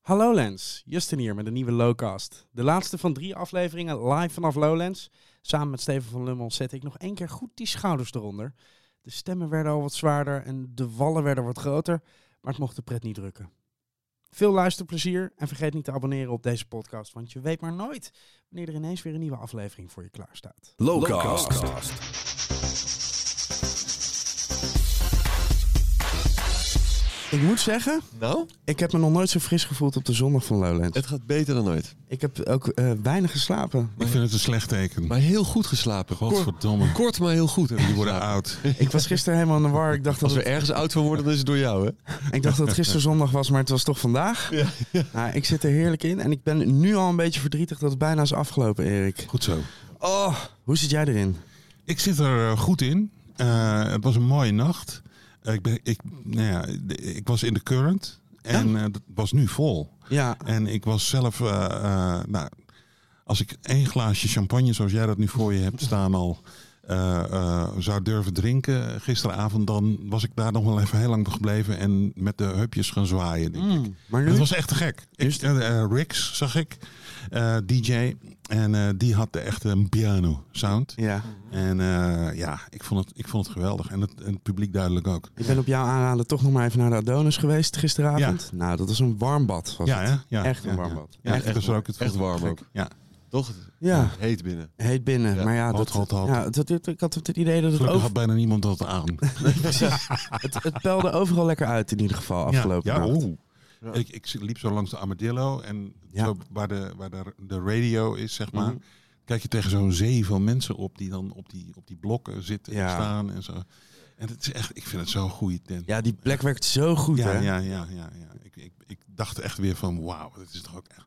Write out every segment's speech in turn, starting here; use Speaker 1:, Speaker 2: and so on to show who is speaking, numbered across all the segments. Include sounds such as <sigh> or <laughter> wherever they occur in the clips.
Speaker 1: Hallo Lens, Justin hier met een nieuwe Lowcast. De laatste van drie afleveringen live vanaf Lowlands. Samen met Steven van Lummel zette ik nog één keer goed die schouders eronder. De stemmen werden al wat zwaarder en de wallen werden wat groter, maar het mocht de pret niet drukken. Veel luisterplezier en vergeet niet te abonneren op deze podcast, want je weet maar nooit wanneer er ineens weer een nieuwe aflevering voor je klaarstaat.
Speaker 2: Lowcast.
Speaker 1: Ik moet zeggen,
Speaker 2: Nou,
Speaker 1: ik heb me nog nooit zo fris gevoeld op de zondag van Lowlands.
Speaker 2: het gaat beter dan ooit.
Speaker 1: Ik heb ook eh, weinig geslapen.
Speaker 3: Ik vind het een slecht teken.
Speaker 2: Maar heel goed geslapen. Kort,
Speaker 3: Godverdomme.
Speaker 2: kort, maar heel goed.
Speaker 3: Die worden
Speaker 2: <laughs>
Speaker 3: oud.
Speaker 1: Ik was gisteren helemaal in de war. Ik dacht dat
Speaker 2: Als
Speaker 1: het
Speaker 2: we ergens oud van worden, dan is het door jou, hè?
Speaker 1: Ik dacht dat het gisteren zondag was, maar het was toch vandaag. Nou, ik zit er heerlijk in en ik ben nu al een beetje verdrietig dat het bijna is afgelopen, Erik.
Speaker 3: Goed zo.
Speaker 1: Oh, hoe zit jij erin?
Speaker 3: Ik zit er eh, goed in. Eh, het was een mooie nacht. Eh, ik, ben, ik, nou ja, ik was in de current. En eh, dat was nu vol.
Speaker 1: Ja,
Speaker 3: En ik was zelf... eh, eh, nou, als ik één glaasje champagne, zoals jij dat nu voor je
Speaker 1: <laughs>
Speaker 3: hebt staan al... eh, eh, zou durven drinken gisteravond, dan was ik daar nog wel even heel lang gebleven en met de heupjes gaan zwaaien. denk ik.
Speaker 1: Mm, maar nu?
Speaker 3: Het was echt te gek. Ik, eh, eh, Rix zag ik, eh, DJ. En eh, die had de echte piano sound.
Speaker 1: Ja,
Speaker 3: En eh, ja, ik vond, het, ik vond het geweldig. En het, en het publiek duidelijk ook.
Speaker 1: ik ben op jouw aanraden toch nog maar even naar de Adonis geweest gisteravond. Nou, dat is een warm bad. Was
Speaker 3: Ja,
Speaker 1: het.
Speaker 3: hè? ja,
Speaker 1: Echt een
Speaker 3: ja,
Speaker 1: warm
Speaker 3: ja.
Speaker 1: bad.
Speaker 3: Ja,
Speaker 1: Echt
Speaker 3: dat was ook het
Speaker 2: Echt warm
Speaker 3: gek.
Speaker 2: ook.
Speaker 3: Ja.
Speaker 2: Toch?
Speaker 1: Ja,
Speaker 2: Heet binnen.
Speaker 1: heet binnen.
Speaker 2: Ja,
Speaker 1: Maar ja, dat,
Speaker 3: hot, hot, hot.
Speaker 1: ja dat, dat- ik had het idee dat het,
Speaker 3: Gelukkig had
Speaker 1: over,
Speaker 3: bijna niemand dat
Speaker 1: <laughs>
Speaker 3: aan.
Speaker 1: het, het peilde overal lekker uit in ieder geval afgelopen
Speaker 3: ja, ja,
Speaker 1: nacht.
Speaker 3: oeh. Ik, ik liep zo langs de Armadillo. En
Speaker 1: Ja.
Speaker 3: zo waar, de, waar de, de radio is, zeg maar.
Speaker 1: Mhm.
Speaker 3: Kijk je tegen zo'n zee van mensen op die dan op die, op die blokken zitten en
Speaker 1: Ja.
Speaker 3: staan en zo. En het is echt, ik vind het zo'n goede tent.
Speaker 1: Ja, die plek werkt zo goed,
Speaker 3: Ja,
Speaker 1: hè?
Speaker 3: ja, ja, ja, ja. Ik, ik, ik dacht echt weer van, wauw, dat is toch ook echt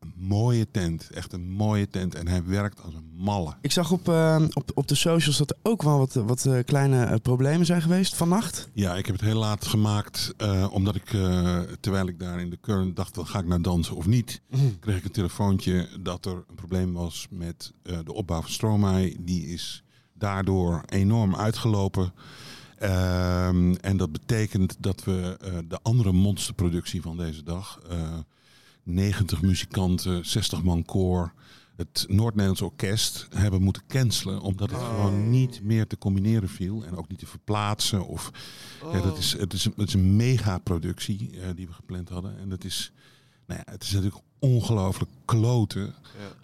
Speaker 3: een mooie tent. Echt een mooie tent. En hij werkt als een malle.
Speaker 1: Ik zag op, eh, op, op de socials dat er ook wel wat, wat eh, kleine eh, problemen zijn geweest vannacht.
Speaker 3: Ja, ik heb het heel laat gemaakt, eh, omdat ik, eh, terwijl ik daar in de current dacht, wel, ga ik nou dansen of niet, kreeg ik een telefoontje dat er een probleem was met eh, de opbouw van Stromae. Die is daardoor enorm uitgelopen. Ehm, en dat betekent dat we eh, de andere monsterproductie van deze dag, eh, 90 muzikanten, 60 man koor, het Noord-Nederlands Orkest hebben moeten cancelen. Omdat het gewoon niet meer te combineren viel. En ook niet te verplaatsen. Of, ja, dat is, het, is een, het is een megaproductie eh, die we gepland hadden. En dat is, nou ja, het is natuurlijk ongelooflijk kloten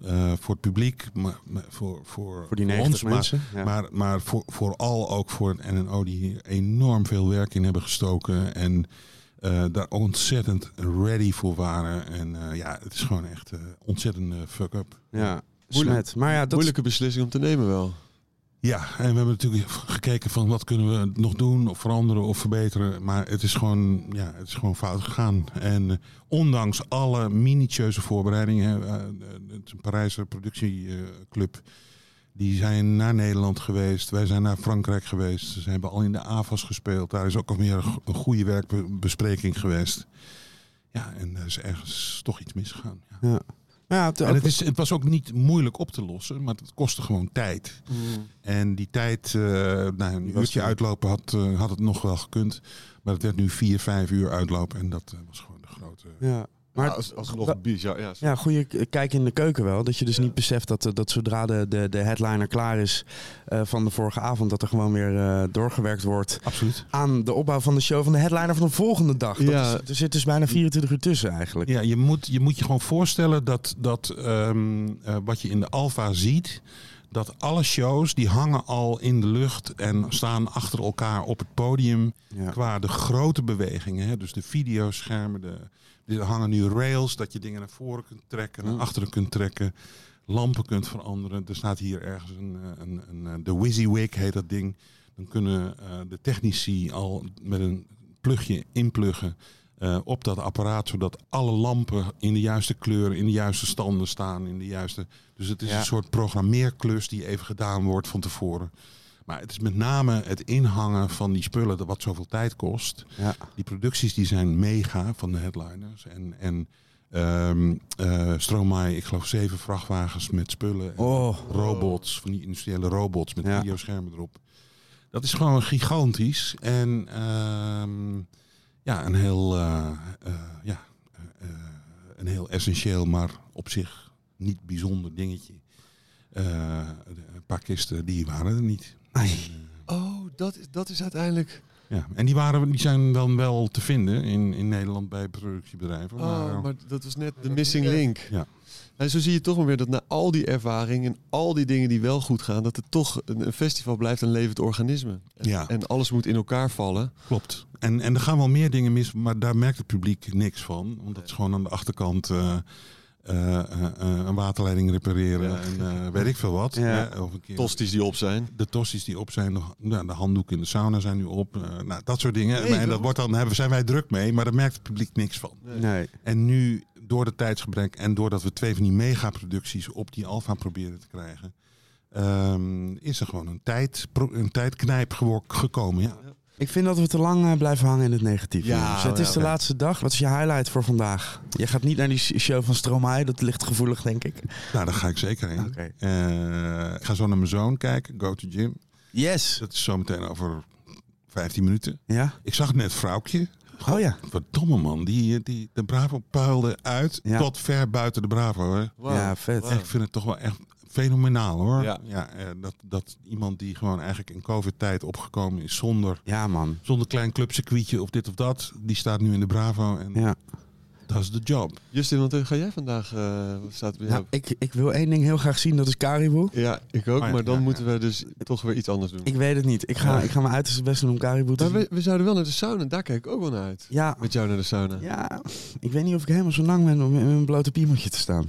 Speaker 3: eh, voor het publiek. Maar, maar voor, voor,
Speaker 1: Voor die
Speaker 3: voor
Speaker 1: 90
Speaker 3: ons, maar-
Speaker 1: mensen. ja.
Speaker 3: maar, maar voor, vooral ook voor het NNO die hier enorm veel werk in hebben gestoken. En eh, daar ontzettend ready voor waren. En eh, ja, het is gewoon echt eh, ontzettend eh, fuck-up.
Speaker 1: Ja,
Speaker 2: Moeilijk.
Speaker 1: smet. Maar ja, dat
Speaker 2: Moeilijke beslissing om te nemen wel.
Speaker 3: Ja, en we hebben natuurlijk gekeken van wat kunnen we nog doen of veranderen of verbeteren. Maar het is gewoon, ja, het is gewoon fout gegaan. En eh, ondanks alle minutieuze voorbereidingen, hè, eh, eh, het is een Parijse productieclub, die zijn naar Nederland geweest. Wij zijn naar Frankrijk geweest. Ze hebben al in de AFAS gespeeld. Daar is ook alweer een go- een goede werkbespreking geweest. Ja, en er is ergens toch iets misgegaan. Ja.
Speaker 1: Maar ja, het,
Speaker 3: En het, is, het was ook niet moeilijk op te lossen, maar het kostte gewoon tijd.
Speaker 1: Mm.
Speaker 3: En die tijd, eh, nou,
Speaker 1: Die
Speaker 3: een
Speaker 1: was
Speaker 3: uurtje
Speaker 1: er.
Speaker 3: uitlopen had, eh, had het nog wel gekund. Maar het werd nu vier, vijf uur uitlopen. En dat eh, was gewoon de grote...
Speaker 1: ja.
Speaker 2: Maar
Speaker 1: Maar
Speaker 2: als, alsnog bizar. Oh, Ja,
Speaker 1: ja, goede k- kijk in de keuken wel. Dat je dus niet beseft dat, eh, dat zodra de, de, de headliner klaar is eh, van de vorige avond, dat er gewoon weer eh, doorgewerkt wordt
Speaker 3: Absoluut.
Speaker 1: aan de opbouw van de show van de headliner van de volgende dag. Dat
Speaker 2: Ja.
Speaker 1: is, er zit dus bijna 24 uur tussen eigenlijk.
Speaker 3: Ja, je moet, je moet je gewoon voorstellen dat, dat ehm, eh, wat je in de Alfa ziet... dat alle shows, die hangen al in de lucht en staan achter elkaar op het podium...
Speaker 1: Ja.
Speaker 3: qua de grote bewegingen. Hè? Dus de videoschermen, de, er hangen nu rails, dat je dingen naar voren kunt trekken, naar
Speaker 1: Mm.
Speaker 3: achteren kunt trekken, lampen kunt veranderen. Er staat hier ergens een, eh, een, een eh, de WYSIWYG heet dat ding. Dan kunnen eh, de technici al met een plugje inpluggen eh, op dat apparaat, zodat alle lampen in de juiste kleuren, in de juiste standen staan, in de juiste. Dus het is
Speaker 1: Ja.
Speaker 3: een soort programmeerklus die even gedaan wordt van tevoren. Maar het is met name het inhangen van die spullen, dat wat zoveel tijd kost.
Speaker 1: Ja.
Speaker 3: Die producties die zijn mega van de headliners. En, en ehm eh, Stromae, ik geloof zeven vrachtwagens met spullen. en
Speaker 1: Oh,
Speaker 3: Robots, van die industriële robots met
Speaker 1: Ja.
Speaker 3: videoschermen erop. Dat is gewoon gigantisch. En ehm, ja, een heel eh, eh, ja, eh, eh, een heel essentieel, maar op zich niet bijzonder dingetje. Eh, een paar kisten, die waren er niet. <laughs>
Speaker 2: Oh, dat is, dat is uiteindelijk...
Speaker 3: Ja, en die, waren, die zijn dan wel te vinden in, in Nederland bij productiebedrijven.
Speaker 2: Oh,
Speaker 3: maar-
Speaker 2: maar dat was net de missing link.
Speaker 3: Nou. Ja.
Speaker 2: En zo zie je toch maar weer dat na al die ervaring en al die dingen die wel goed gaan, dat het toch een, een festival blijft een levend organisme. En,
Speaker 3: Ja.
Speaker 2: en alles moet in elkaar vallen.
Speaker 3: Klopt. En, en er gaan wel meer dingen mis, maar daar merkt het publiek niks van. Want dat is gewoon aan de achterkant eh, eh, eh, eh, een waterleiding repareren
Speaker 2: Ja.
Speaker 3: en eh, weet ik veel wat.
Speaker 1: Ja.
Speaker 3: Eh, of een keer
Speaker 2: Tosties die op zijn.
Speaker 3: de tossies die op zijn, nog, nou, de handdoeken in de sauna zijn nu op. eh, nou, dat soort dingen.
Speaker 2: Nee,
Speaker 3: en dat
Speaker 2: klopt.
Speaker 3: wordt dan, hebben, zijn wij druk mee, maar daar merkt het publiek niks van.
Speaker 1: Nee.
Speaker 3: En nu, door de tijdsgebrek en doordat we twee van die megaproducties op die alfa proberen te krijgen, ehm, is er gewoon een, tijd, een tijdknijp gewo- gekomen. Ja.
Speaker 1: Ik vind dat we te lang eh, blijven hangen in het negatieve.
Speaker 2: Ja,
Speaker 1: jongens. Dus het
Speaker 2: ja,
Speaker 1: is de
Speaker 2: ja.
Speaker 1: laatste dag. Wat is je highlight voor vandaag? Je gaat niet naar die show van Stromae. Dat ligt gevoelig, denk ik.
Speaker 3: Nou, daar ga ik zeker heen.
Speaker 1: Oké.
Speaker 3: Eh, ik ga zo naar mijn zoon kijken, Go to Gym.
Speaker 1: Yes.
Speaker 3: Dat is zometeen over 15 minuten.
Speaker 1: Ja.
Speaker 3: Ik zag net vrouwtje.
Speaker 1: Oh ja.
Speaker 3: Wat domme man. Die, eh, die, de Bravo puilde uit
Speaker 1: Ja.
Speaker 3: tot ver buiten de Bravo. Hoor.
Speaker 2: Wauw.
Speaker 1: Ja, vet.
Speaker 2: Wauw.
Speaker 3: Ik vind het toch wel echt fenomenaal hoor.
Speaker 2: Ja.
Speaker 3: eh, dat, dat iemand die gewoon eigenlijk in covid-tijd opgekomen is zonder,
Speaker 1: Ja, man.
Speaker 3: zonder klein clubcircuitje of dit of dat. Die staat nu in de Bravo en
Speaker 1: Ja.
Speaker 3: dat is de job.
Speaker 2: Justin, want ga jij vandaag? eh, wat staat er bij jou?
Speaker 1: Nou, ik, ik wil één ding heel graag zien. Dat is Caribou.
Speaker 2: Ja, ik ook,
Speaker 3: Oh ja,
Speaker 2: maar dan
Speaker 3: ja,
Speaker 2: moeten we dus toch weer iets anders doen.
Speaker 1: Ik weet het niet. Ik ga, ik ga mijn uiterste best doen om Caribou te
Speaker 2: Maar
Speaker 1: zien.
Speaker 2: we, we zouden wel naar de sauna, daar kijk ik ook wel naar uit.
Speaker 1: Ja.
Speaker 2: Met jou naar de sauna.
Speaker 1: Ja. Ik weet niet of ik helemaal zo lang ben om in een blote piemeltje te staan.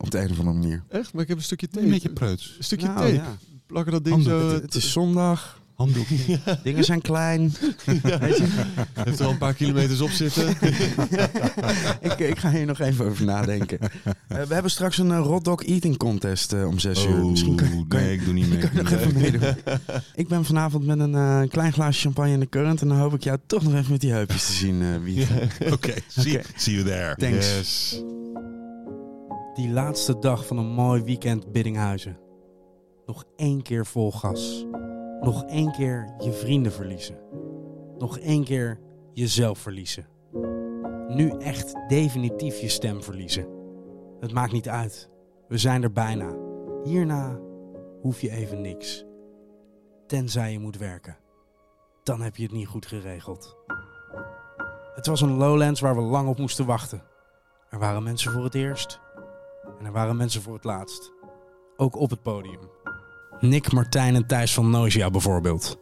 Speaker 1: Op de een of andere manier.
Speaker 2: Echt? Maar ik heb een stukje tape.
Speaker 3: Een beetje preuts.
Speaker 2: Een stukje
Speaker 1: Nou,
Speaker 2: tape.
Speaker 1: ja.
Speaker 2: Plakken dat ding
Speaker 3: Handdoek.
Speaker 2: zo... eh, <laughs>
Speaker 1: Het, het is zondag.
Speaker 3: Handdoek.
Speaker 1: <laughs> Dingen zijn klein. <laughs> Weet je,
Speaker 2: Heeft er al een paar kilometers op
Speaker 1: <laughs>
Speaker 2: zitten.
Speaker 1: ik, ik ga hier nog even over
Speaker 2: <laughs>
Speaker 1: nadenken. Eh, we hebben straks een eh, hot dog eating contest eh, om zes uur. Misschien kan,
Speaker 3: Oh,
Speaker 1: kan
Speaker 3: nee, ik doe niet mee.
Speaker 1: <laughs> kan je nog even meedoen. Ik ben vanavond met een eh, klein glaasje champagne in de current. En dan hoop ik jou toch nog even met die heupjes te zien, eh Wieg.
Speaker 2: <laughs>
Speaker 3: Oké, see,
Speaker 1: <laughs> Oké.
Speaker 3: <laughs> see you there.
Speaker 1: Thanks.
Speaker 2: Yes.
Speaker 1: Die laatste dag van een mooi weekend Biddinghuizen. Nog één keer vol gas. Nog één keer je vrienden verliezen. Nog één keer jezelf verliezen. Nu echt definitief je stem verliezen. Het maakt niet uit. We zijn er bijna. Hierna hoef je even niks. Tenzij je moet werken. Dan heb je het niet goed geregeld. Het was een lowlands waar we lang op moesten wachten. Er waren mensen voor het eerst. En er waren mensen voor het laatst. Ook op het podium. Nick, Martijn en Thijs van Noisia bijvoorbeeld.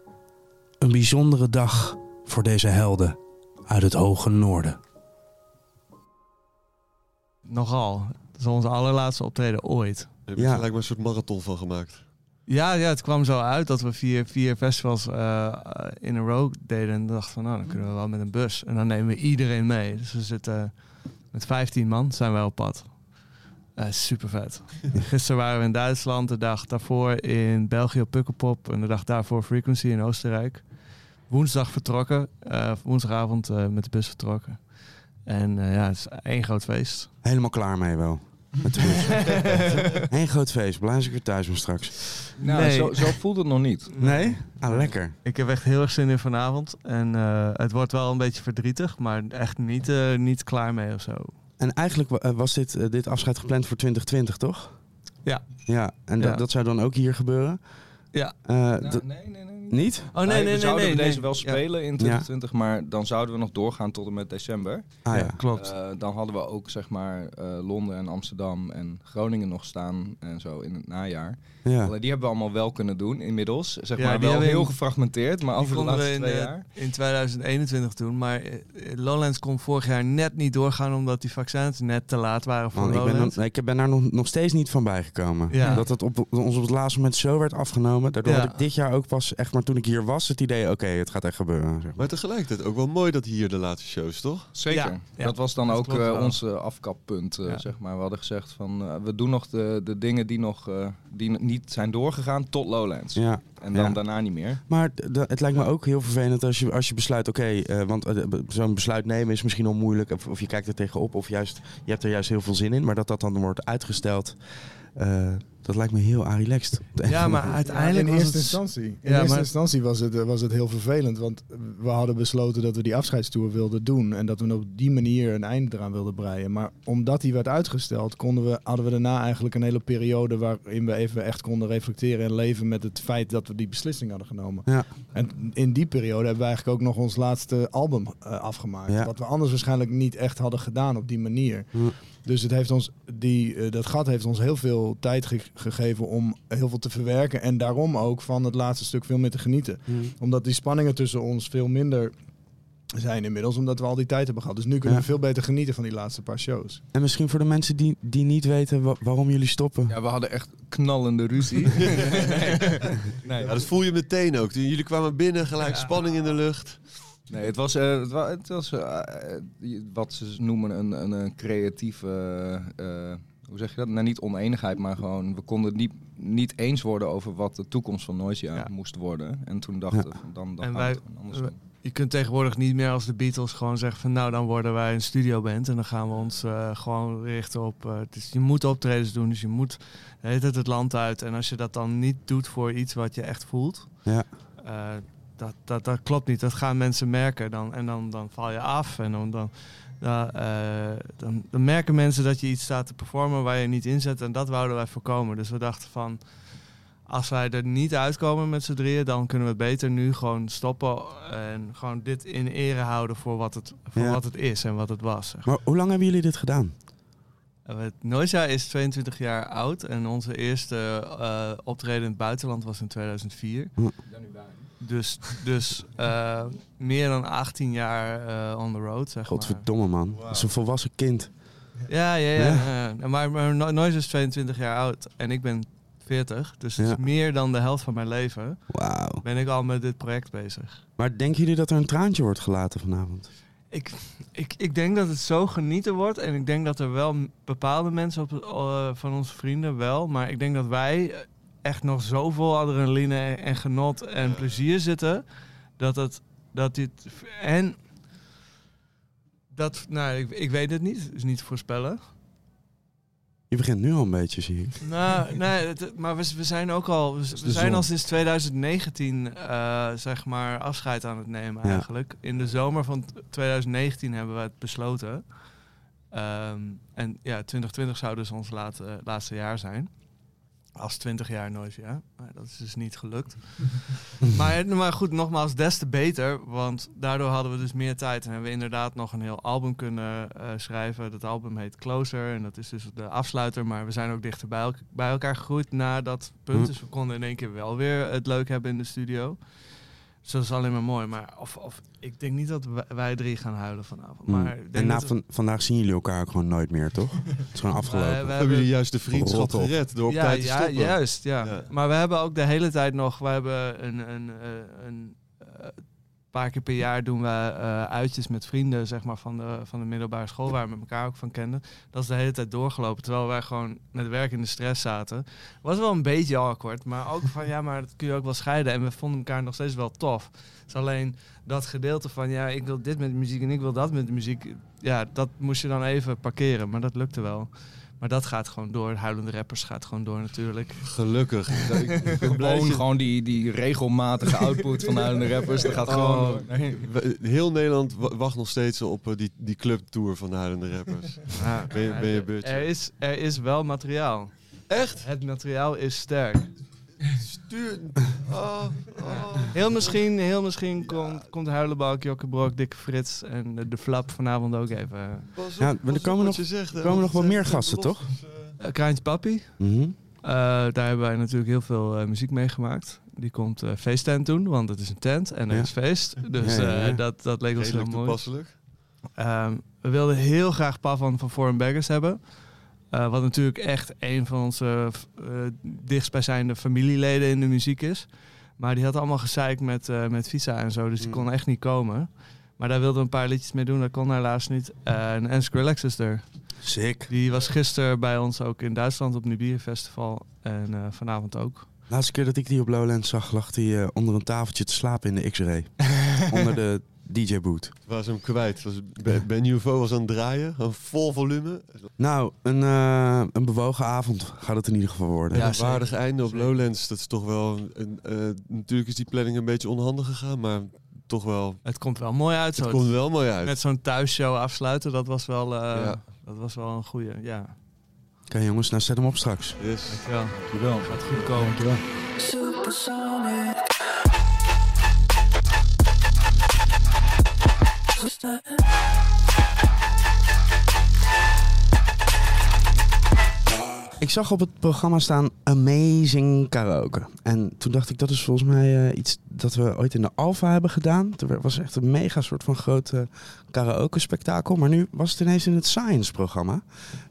Speaker 1: Een bijzondere dag voor deze helden uit het hoge noorden.
Speaker 4: Nogal. Dat is onze allerlaatste optreden ooit.
Speaker 2: Daar heb ik
Speaker 1: Ja.
Speaker 2: gelijk maar een soort marathon van gemaakt.
Speaker 4: Ja, ja, het kwam zo uit dat we vier, vier festivals eh, eh, in een row deden. En dachten van, nou, dan kunnen we wel met een bus. En dan nemen we iedereen mee. Dus we zitten met 15 man, zijn wij op pad. Eh, super
Speaker 1: <laughs>
Speaker 4: vet. Gisteren waren we in Duitsland, de dag daarvoor in België op Pukkelpop. En de dag daarvoor Frequency in Oostenrijk. Woensdag vertrokken, eh, woensdagavond eh, met de bus vertrokken. En eh, ja, het is één groot feest.
Speaker 1: Helemaal klaar mee wel. Met de bus. Een groot feest. Blij als ik weer thuis ben straks.
Speaker 5: Nou,
Speaker 4: Nee.
Speaker 5: zo, zo voelt het nog niet.
Speaker 1: Nee? Ah, lekker.
Speaker 4: Ik heb echt heel erg zin in vanavond. En eh, het wordt wel een beetje verdrietig, maar echt niet, eh, niet klaar mee of zo.
Speaker 1: En eigenlijk wa- eh, was dit, eh, dit afscheid gepland voor 2020, toch?
Speaker 4: Ja.
Speaker 1: Ja, en dat-
Speaker 4: Ja.
Speaker 1: dat zou dan ook hier gebeuren?
Speaker 4: Ja.
Speaker 1: Eh, dat-
Speaker 5: nee, nee, nee.
Speaker 1: niet?
Speaker 4: Oh
Speaker 5: nee, we zouden we deze wel spelen in
Speaker 1: Ja.
Speaker 5: 2020, maar dan zouden we nog doorgaan tot en met december.
Speaker 1: Ah ja.
Speaker 4: ja, klopt.
Speaker 5: Eh, dan hadden we ook zeg maar eh, Londen en Amsterdam en Groningen nog staan en zo in het najaar.
Speaker 1: Ja.
Speaker 5: Alleen Die hebben we allemaal wel kunnen doen inmiddels. Zeg
Speaker 4: Ja,
Speaker 5: maar
Speaker 4: die
Speaker 5: wel
Speaker 4: hebben
Speaker 5: heel
Speaker 4: in-
Speaker 5: gefragmenteerd, maar
Speaker 4: Die
Speaker 5: over de
Speaker 4: konden we
Speaker 5: laatste
Speaker 4: in,
Speaker 5: twee
Speaker 4: eh,
Speaker 5: jaar.
Speaker 4: in 2021 doen, maar eh, Lowlands kon vorig jaar net niet doorgaan omdat die vaccins net te laat waren voor
Speaker 1: Man, ik, ben,
Speaker 4: Lowlands.
Speaker 1: nog- ik ben daar nog, nog steeds niet van bijgekomen.
Speaker 4: Ja.
Speaker 1: Dat het op, ons op het laatste moment zo werd afgenomen. Daardoor
Speaker 4: Ja.
Speaker 1: had ik dit jaar ook pas, echt maar toen ik hier was, het idee... oké, het gaat echt gebeuren. zeg maar.
Speaker 2: Maar tegelijkertijd ook wel mooi dat hier de laatste show is,
Speaker 1: <laughs>
Speaker 2: toch?
Speaker 5: Zeker.
Speaker 4: Ja, ja.
Speaker 5: Dat was dan
Speaker 4: Dat
Speaker 5: ook
Speaker 4: klopt
Speaker 5: eh,
Speaker 4: wel.
Speaker 5: ons eh, afkappunt, eh,
Speaker 4: Ja.
Speaker 5: zeg maar. We hadden gezegd van, eh, we doen nog de, de dingen die nog eh, die n- niet zijn doorgegaan tot Lowlands.
Speaker 1: Ja.
Speaker 5: En dan
Speaker 1: Ja.
Speaker 5: daarna niet meer.
Speaker 1: Maar d- d- het lijkt me ook heel vervelend als je, als je besluit... oké, eh, want eh, b- zo'n besluit nemen is misschien al moeilijk... Of, of je kijkt er tegenop of juist, je hebt er juist heel veel zin in... maar dat dat dan wordt uitgesteld... eh, Dat lijkt me heel relaxed. Op de een
Speaker 4: Ja,
Speaker 1: of
Speaker 4: maar
Speaker 1: andere
Speaker 4: uiteindelijk
Speaker 6: in
Speaker 4: was
Speaker 6: eerste
Speaker 4: het...
Speaker 6: instantie. In
Speaker 4: Ja,
Speaker 6: eerste
Speaker 4: maar-
Speaker 6: instantie was het, eh, was het heel vervelend. Want we hadden besloten dat we die afscheidstour wilden doen. En dat we op die manier een einde eraan wilden breien. Maar omdat die werd uitgesteld, konden we, hadden we daarna eigenlijk een hele periode waarin we even echt konden reflecteren en leven met het feit dat we die beslissing hadden genomen.
Speaker 1: Ja.
Speaker 6: En in die periode hebben we eigenlijk ook nog ons laatste album eh, afgemaakt.
Speaker 1: Ja.
Speaker 6: Wat we anders waarschijnlijk niet echt hadden gedaan op die manier.
Speaker 1: Hm.
Speaker 6: Dus het heeft ons, die, eh, dat gat heeft ons heel veel tijd ge- gegeven om heel veel te verwerken. En daarom ook van het laatste stuk veel meer te genieten.
Speaker 1: manier.
Speaker 6: Omdat die spanningen tussen ons veel minder zijn inmiddels. Omdat we al die tijd hebben gehad. Dus nu kunnen
Speaker 1: Ja.
Speaker 6: we veel beter genieten van die laatste paar shows.
Speaker 1: En misschien voor de mensen die, die niet weten wa- waarom jullie stoppen.
Speaker 5: Ja, we hadden echt knallende ruzie.
Speaker 1: <laughs>
Speaker 5: nee.
Speaker 2: Ja, dat voel je meteen ook. Toen jullie kwamen binnen, gelijk spanning in de lucht.
Speaker 5: Nee, het was, eh, het wa- het was eh, eh, je- wat ze noemen een, een, eh, creatieve, eh, eh, hoe zeg je dat? Nou, niet oneenigheid, maar gewoon, we konden het niet, niet eens worden over wat de toekomst van Noisia
Speaker 4: Ja.
Speaker 5: moest worden. En toen dachten we, dan,
Speaker 4: En
Speaker 5: dan gaan
Speaker 4: wij-
Speaker 5: we het gewoon anders doen.
Speaker 4: Je kunt tegenwoordig niet meer als de Beatles gewoon zeggen van nou dan worden wij een studioband en dan gaan we ons eh, gewoon richten op. eh, dus je moet optredens doen, dus je moet de hele tijd het land uit. En als je dat dan niet doet voor iets wat je echt voelt,
Speaker 1: Ja.
Speaker 4: eh, dat, dat, dat klopt niet. Dat gaan mensen merken dan, en dan, dan val je af en dan, dan, dan, eh, dan, dan merken mensen dat je iets staat te performen waar je niet in zit en dat wouden wij voorkomen. Dus we dachten van als wij er niet uitkomen met z'n drieën, dan kunnen we beter nu gewoon stoppen en gewoon dit in ere houden voor wat het, voor
Speaker 1: Ja.
Speaker 4: wat het is en wat het was. zeg.
Speaker 1: Maar hoe lang hebben jullie dit gedaan?
Speaker 4: En we- Noisia Eh, is 22 jaar oud en onze eerste eh, optreden in het buitenland was in 2004.
Speaker 1: Hm.
Speaker 4: Dus, dus eh, meer dan 18 jaar eh, on the road, zeg maar.
Speaker 1: Godverdomme man, dat is een volwassen kind.
Speaker 4: Ja, ja, ja.
Speaker 1: Ja.
Speaker 4: ja, ja. Maar, maar No- Noisia is 22 jaar oud en ik ben 40. Dus het
Speaker 1: Ja.
Speaker 4: is meer dan de helft van mijn leven
Speaker 1: Wauw.
Speaker 4: ben ik al met dit project bezig.
Speaker 1: Maar denken jullie dat er een traantje wordt gelaten vanavond?
Speaker 4: Ik, ik, ik denk dat het zo genieten wordt. En ik denk dat er wel m- bepaalde mensen op, eh, van onze vrienden wel. Maar ik denk dat wij eh, echt nog zoveel adrenaline en, en genot en plezier zitten. Dat het. Dat dit, en. Dat, nou, ik, ik weet het niet. is niet te voorspellen.
Speaker 1: Je begint nu al een beetje, zie ik. <laughs>
Speaker 4: Nou, nee, het- maar we, we zijn ook al. We, we
Speaker 1: de
Speaker 4: zijn al
Speaker 1: zon.
Speaker 4: sinds 2019, eh, zeg maar, afscheid aan het nemen
Speaker 1: Ja.
Speaker 4: eigenlijk. In de zomer van t- 2019 hebben we het besloten. Ehm, en ja, 2020 zou dus ons laatste, laatste jaar zijn. Als 20 jaar nooit, ja. Maar dat is dus niet gelukt. maar, eh, maar goed, nogmaals, des te beter. Want daardoor hadden we dus meer tijd. En hebben we inderdaad nog een heel album kunnen eh, schrijven. Dat album heet Closer. En dat is dus de afsluiter. Maar we zijn ook dichter bij, elk- bij elkaar gegroeid na dat punt.
Speaker 1: Hm.
Speaker 4: Dus we konden in één keer wel weer het leuk hebben in de studio. Dus dat is alleen maar mooi. Maar of, of, ik denk niet dat wij, wij drie gaan huilen vanavond. Maar
Speaker 1: Hmm.
Speaker 4: ik denk
Speaker 1: Mm. en na
Speaker 4: dat we-
Speaker 1: van, vandaag zien jullie elkaar ook gewoon nooit meer, toch? Het
Speaker 4: <laughs>
Speaker 1: is gewoon
Speaker 4: wij- wij
Speaker 1: afgelopen.
Speaker 4: hebben-
Speaker 2: Hebben jullie juist de vriendschap
Speaker 1: Rot op.
Speaker 2: gered door op tijd te
Speaker 4: ja,
Speaker 2: stoppen?
Speaker 4: Juist, ja.
Speaker 2: Ja.
Speaker 4: Maar we hebben ook de hele tijd nog, we hebben een, een, eh, een eh, paar keer per jaar doen we eh, uitjes met vrienden, zeg maar, van de, van de middelbare school, waar we met elkaar ook van kenden. Dat is de hele tijd doorgelopen, terwijl wij gewoon met werk in de stress zaten. Was wel een beetje awkward, maar
Speaker 2: <laughs>
Speaker 4: ook van, ja, maar dat kun je ook wel scheiden. En we vonden elkaar nog steeds wel tof. Het is alleen dat gedeelte van, ja, ik wil dit met muziek en ik wil dat met muziek. Ja, dat moest je dan even parkeren, maar dat lukte wel. Maar dat gaat gewoon door. Huilende rappers gaat gewoon door natuurlijk.
Speaker 1: <laughs>
Speaker 2: Gelukkig. Ik- ik ben blij dat
Speaker 5: Gewoon,
Speaker 2: je-
Speaker 5: gewoon die, die regelmatige output van de huilende rappers, dat gaat
Speaker 4: Oh.
Speaker 5: gewoon door. Nee.
Speaker 2: We- Heel Nederland wa- wacht nog steeds op eh, die, die clubtour van de huilende rappers.
Speaker 4: <laughs> Ja.
Speaker 2: Ben je- ben je beurtje?
Speaker 4: Er is, er is wel materiaal.
Speaker 2: Echt?
Speaker 4: Het materiaal is sterk. Eh,
Speaker 2: Stuur... Oh, oh.
Speaker 4: Heel misschien, heel misschien komt, komt Huilenbalk, Jokke Brok, Dikke Frits en de, de Flap vanavond ook even.
Speaker 2: Pas op,
Speaker 1: Ja, maar er
Speaker 2: pas op
Speaker 1: komen
Speaker 2: wat
Speaker 1: nog-
Speaker 2: je zegt, hè,
Speaker 1: er
Speaker 2: want
Speaker 1: komen nog wel
Speaker 2: het
Speaker 1: meer
Speaker 2: zijn
Speaker 1: gasten, toch?
Speaker 2: beloftes, eh.
Speaker 4: Eh, Kraantje Papi.
Speaker 1: Mhm.
Speaker 4: Eh, daar hebben wij natuurlijk heel veel eh, muziek mee gemaakt. Die komt eh feesttent doen, want het is een tent en er
Speaker 1: Ja.
Speaker 4: is feest. Dus
Speaker 1: Ja, ja, ja.
Speaker 4: eh, dat, dat leek ons heel
Speaker 2: Redelijk
Speaker 4: mooi.
Speaker 2: toepasselijk.
Speaker 4: Ehm, we wilden heel graag Pavan van Foreign Beggars hebben. Eh, wat natuurlijk echt een van onze f- eh, dichtstbijzijnde familieleden in de muziek is. Maar die had allemaal gezeik met, eh, met visa en zo, dus die
Speaker 1: Mm.
Speaker 4: kon echt niet komen. Maar daar wilden we een paar liedjes mee doen, dat kon helaas niet. Eh, en, en Skrillex is er.
Speaker 1: Sick.
Speaker 4: Die was gisteren bij ons ook in Duitsland op Nibiru Festival. En eh, vanavond ook.
Speaker 1: Laatste keer dat ik die op Lowlands zag, lag die eh, onder een tafeltje te slapen in de X-ray. onder de
Speaker 7: DJ Boot.
Speaker 2: Was hem kwijt. Was ben, ben UFO was aan het draaien. Gewoon vol volume.
Speaker 7: Nou, een, eh, een bewogen avond gaat het in ieder geval worden.
Speaker 2: En
Speaker 4: Ja,
Speaker 2: een
Speaker 4: zeker.
Speaker 2: waardig einde op
Speaker 4: Zeker.
Speaker 2: Lowlands. Dat is toch wel... Een, eh, natuurlijk is die planning een beetje onhandig gegaan. Maar toch wel...
Speaker 4: Het komt wel mooi uit.
Speaker 2: Het
Speaker 4: Zo.
Speaker 2: komt wel mooi uit.
Speaker 4: Met zo'n thuisshow afsluiten, dat was wel, eh,
Speaker 2: Ja.
Speaker 4: dat was wel een goede. Ja,
Speaker 7: Oké jongens, nou zet hem op straks.
Speaker 2: Yes.
Speaker 4: dankjewel.
Speaker 5: Dankjewel.
Speaker 4: Gaat goed komen.
Speaker 8: Supersonic.
Speaker 1: Ik zag op het programma staan Amazing Karaoke. En toen dacht ik, dat is volgens mij eh, iets dat we ooit in de Alfa hebben gedaan. Er werd- was echt een mega soort van groot eh, karaoke-spektakel. Maar nu was het ineens in het Science-programma.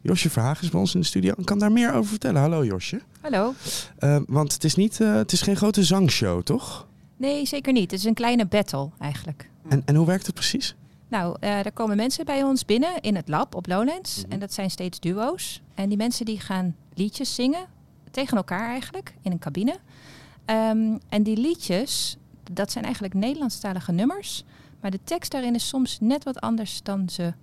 Speaker 1: Josje Verhaag is bij ons in de studio en kan daar meer over vertellen. Hallo Josje.
Speaker 9: Hallo.
Speaker 1: Eh, want het is, niet, eh, het is geen grote zangshow, toch?
Speaker 9: Nee, zeker niet. Het is een kleine battle eigenlijk.
Speaker 1: En, en hoe werkt het precies?
Speaker 9: Nou, eh er komen mensen bij ons binnen in het lab op Lowlands. En dat zijn steeds duo's. En die mensen die gaan liedjes zingen, tegen elkaar eigenlijk, in een cabine. Ehm, en die liedjes, dat zijn eigenlijk Nederlandstalige nummers. Maar de tekst daarin is soms net wat anders dan ze